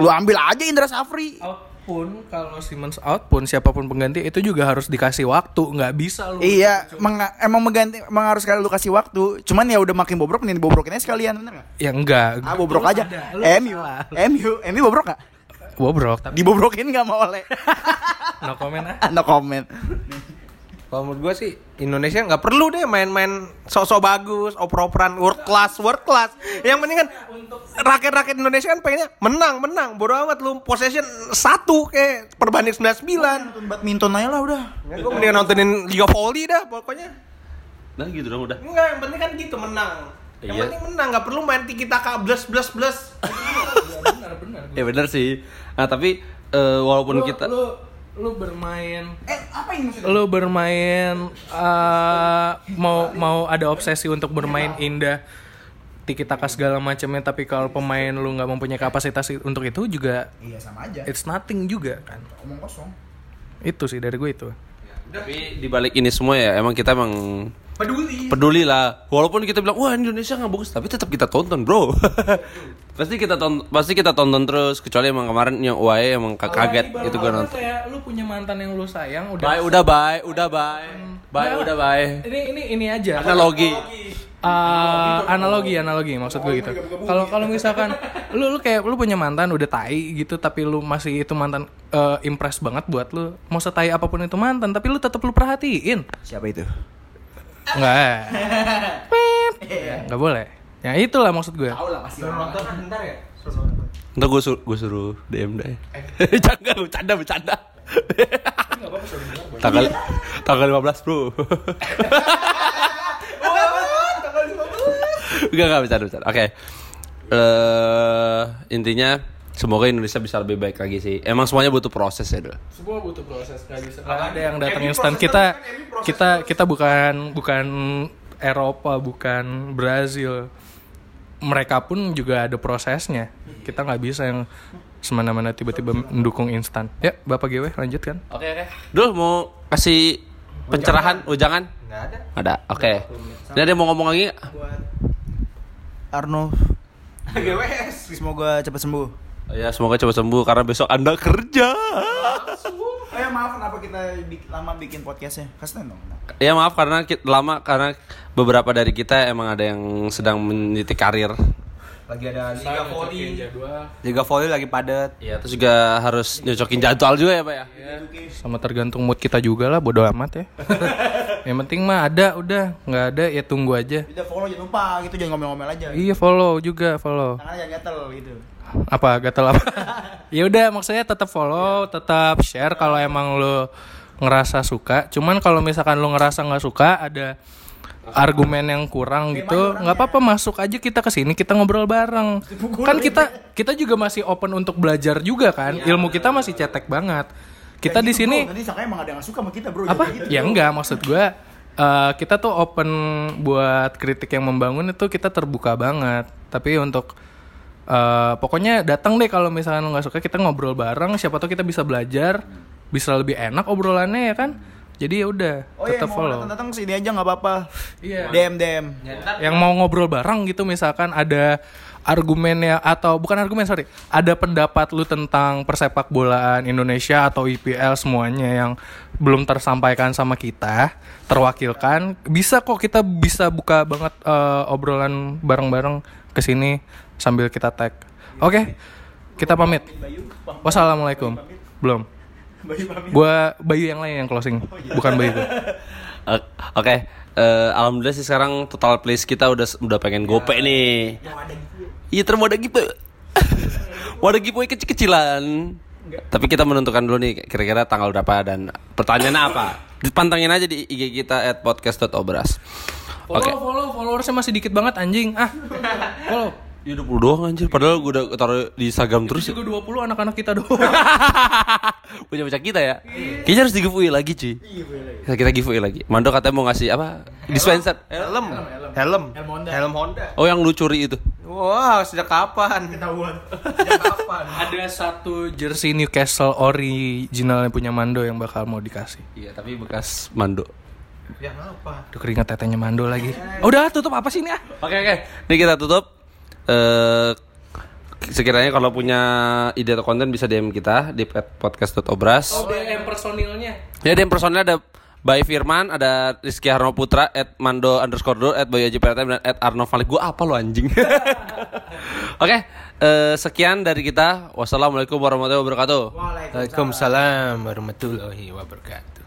C: lu ambil aja Indra Safri.
D: out pun kalau Simmons out pun siapapun pengganti itu juga harus dikasih waktu nggak bisa lu
C: Iya, menga- emang mengganti, emang harus kali lu kasih waktu. Cuman ya udah makin bobrok, mending dibobrokin aja sekalian, bener nggak?
D: ya enggak
C: Ah bobrok aja. MU. MU. MU bobrok gak?
D: bobrok tapi
C: Dibobrokin gak mau
D: <laughs>
C: oleh?
D: no comment ah
C: no comment.
B: Kalau menurut gue sih Indonesia nggak perlu deh main-main sosok bagus, oper-operan world class, world class. Yang penting kan rakyat-rakyat Indonesia kan pengennya menang, menang. Bodoh amat lu possession satu kayak perbanding 99.
C: Nonton badminton aja lah udah.
B: Ya, gue mendingan nontonin Liga Volley dah pokoknya.
A: Nah gitu dong udah.
B: Enggak, yang penting kan gitu menang. Yang
A: Iya.
B: penting menang, nggak perlu main tiki taka blus blus blus.
A: Ya benar sih. Nah tapi eh, walaupun kita
D: lu lu bermain
C: Eh, apa yang maksudnya?
D: lu bermain eh, mau mau ada obsesi untuk bermain indah tiki taka segala macamnya tapi kalau pemain lu nggak mempunyai kapasitas i- untuk itu juga
C: Iya sama aja.
D: it's nothing juga kan
C: Omong kosong.
D: itu sih dari gue itu
A: tapi dibalik ini semua ya emang kita emang peduli peduli lah walaupun kita bilang wah Indonesia nggak bagus tapi tetap kita tonton bro <laughs> pasti kita tonton pasti kita tonton terus kecuali emang kemarin yang UAE emang ka- kaget itu gue nonton
D: kayak lu punya mantan yang lu sayang
A: bye udah bye udah bye bye udah bye
D: ini ini ini aja
A: analogi
D: Eh, analogi analogi maksud gue gitu kalau kalau misalkan lu lu kayak lu punya mantan udah tai gitu tapi lu masih itu mantan eh, impress banget buat lu mau setai apapun itu mantan tapi lu tetap lu perhatiin
C: Siapa itu?
D: Enggak. Pip. Enggak boleh. Ya itulah maksud gue.
A: ntar gue suruh gue suruh DM <laughs> deh jangan bercanda bercanda tanggal tanggal 15 bro Enggak, enggak, bercanda, bercanda. Oke. Eh, intinya semoga Indonesia bisa lebih baik lagi sih. Emang semuanya butuh proses ya, Dul.
D: Semua butuh proses, nggak bisa. ada yang datang instan kita kita kita bukan bukan Eropa, bukan Brazil. Mereka pun juga ada prosesnya. Kita nggak bisa yang semena-mena tiba-tiba mendukung instan. Ya, Bapak GW lanjut kan?
A: Oke, oke. Dul mau kasih pencerahan ujangan?
B: Enggak ada.
A: Ada. Oke. Ini ada yang mau ngomong lagi? nggak?
C: Arno.
B: GWS.
C: Semoga cepat sembuh.
A: Oh Ya, semoga cepat sembuh karena besok Anda kerja.
C: Oh ya maaf kenapa kita bik- lama bikin podcastnya? Kasian dong.
A: Ya maaf karena kita, lama karena beberapa dari kita emang ada yang sedang meniti karir.
B: lagi ada Liga Volley.
E: jadwal.
B: Liga Volley lagi padat.
A: Iya, terus juga harus nyocokin jadwal juga ya, Pak ya.
D: sama tergantung mood kita juga lah bodo amat ya yang penting mah ada udah nggak ada ya tunggu aja
C: Udah follow jangan lupa gitu jangan ngomel-ngomel aja.
D: iya follow juga follow
C: Tangannya jangan gatel gitu.
D: apa gatel apa <laughs> Iya. ya udah maksudnya tetap follow tetap share kalau emang lo ngerasa suka cuman kalau misalkan lo ngerasa nggak suka ada argumen yang kurang gitu nggak apa-apa masuk aja kita ke sini kita ngobrol bareng kan kita kita juga masih open untuk belajar juga kan ilmu kita masih cetek banget kita
C: Kayak
D: di
C: gitu,
D: sini
C: bro. Nanti sangka emang ada yang gak suka sama kita, Bro.
D: apa
C: Jadi gitu.
D: ya enggak maksud gue eh, kita tuh open buat kritik yang membangun itu kita terbuka banget tapi untuk eh, pokoknya datang deh kalau misalnya lo nggak suka kita ngobrol bareng siapa tahu kita bisa belajar bisa lebih enak obrolannya ya kan jadi ya udah
C: Oh iya,
D: tetap
C: mau
D: follow
C: datang-datang sini aja nggak apa-apa.
D: Iya.
C: DM DM.
D: yang mau ngobrol bareng gitu misalkan ada argumennya atau bukan argumen sorry ada pendapat lu tentang persepak bolaan Indonesia atau IPL semuanya yang belum tersampaikan sama kita terwakilkan bisa kok kita bisa buka banget eh, obrolan bareng-bareng kesini sambil kita tag oke kita pamit wassalamualaikum belum gua Bayu yang lain yang closing bukan Bayu gua.
A: O- Oke, eh, alhamdulillah sih sekarang total plays kita udah udah pengen gope nih. Iya, terus mau ada giveaway. mau ada giveaway kecil-kecilan. Tapi kita menentukan dulu nih kira-kira tanggal berapa dan pertanyaannya apa. Pantengin aja di IG kita at podcast.obras. Oke.
D: follow follow followersnya masih dikit banget anjing ah <laughs> follow
A: Ya 20 doang anjir, padahal gue udah taruh di Instagram terus ya.
D: Terus juga 20 anak-anak kita doang.
A: <laughs> punya punya kita ya. Kayaknya harus di giveaway lagi cuy. Kita, kita giveaway lagi. Mando katanya mau ngasih apa? Dispenser.
B: Helm, helm, helm Honda.
A: Oh yang lu curi itu.
B: Wah, sejak kapan? <laughs>
D: Ada satu jersey Newcastle original yang punya Mando yang bakal mau dikasih.
A: Iya, tapi bekas Mando.
B: Yang apa?
D: Aduh keringet tetenya Mando lagi. Oh, udah tutup apa sih ini ah?
A: Oke oke, ini kita tutup. eh sekiranya kalau punya ide atau konten bisa DM kita di podcast.obras.
D: DM personilnya.
A: Ya DM personilnya ada Bay Firman, ada Rizky Harno Putra, at Mando underscore do, at Bayu Aji Prata, dan at Arno Malik. Gue apa lo anjing? <laughs> Oke, eh, sekian dari kita. Wassalamualaikum warahmatullahi wabarakatuh.
B: Waalaikumsalam warahmatullahi wabarakatuh.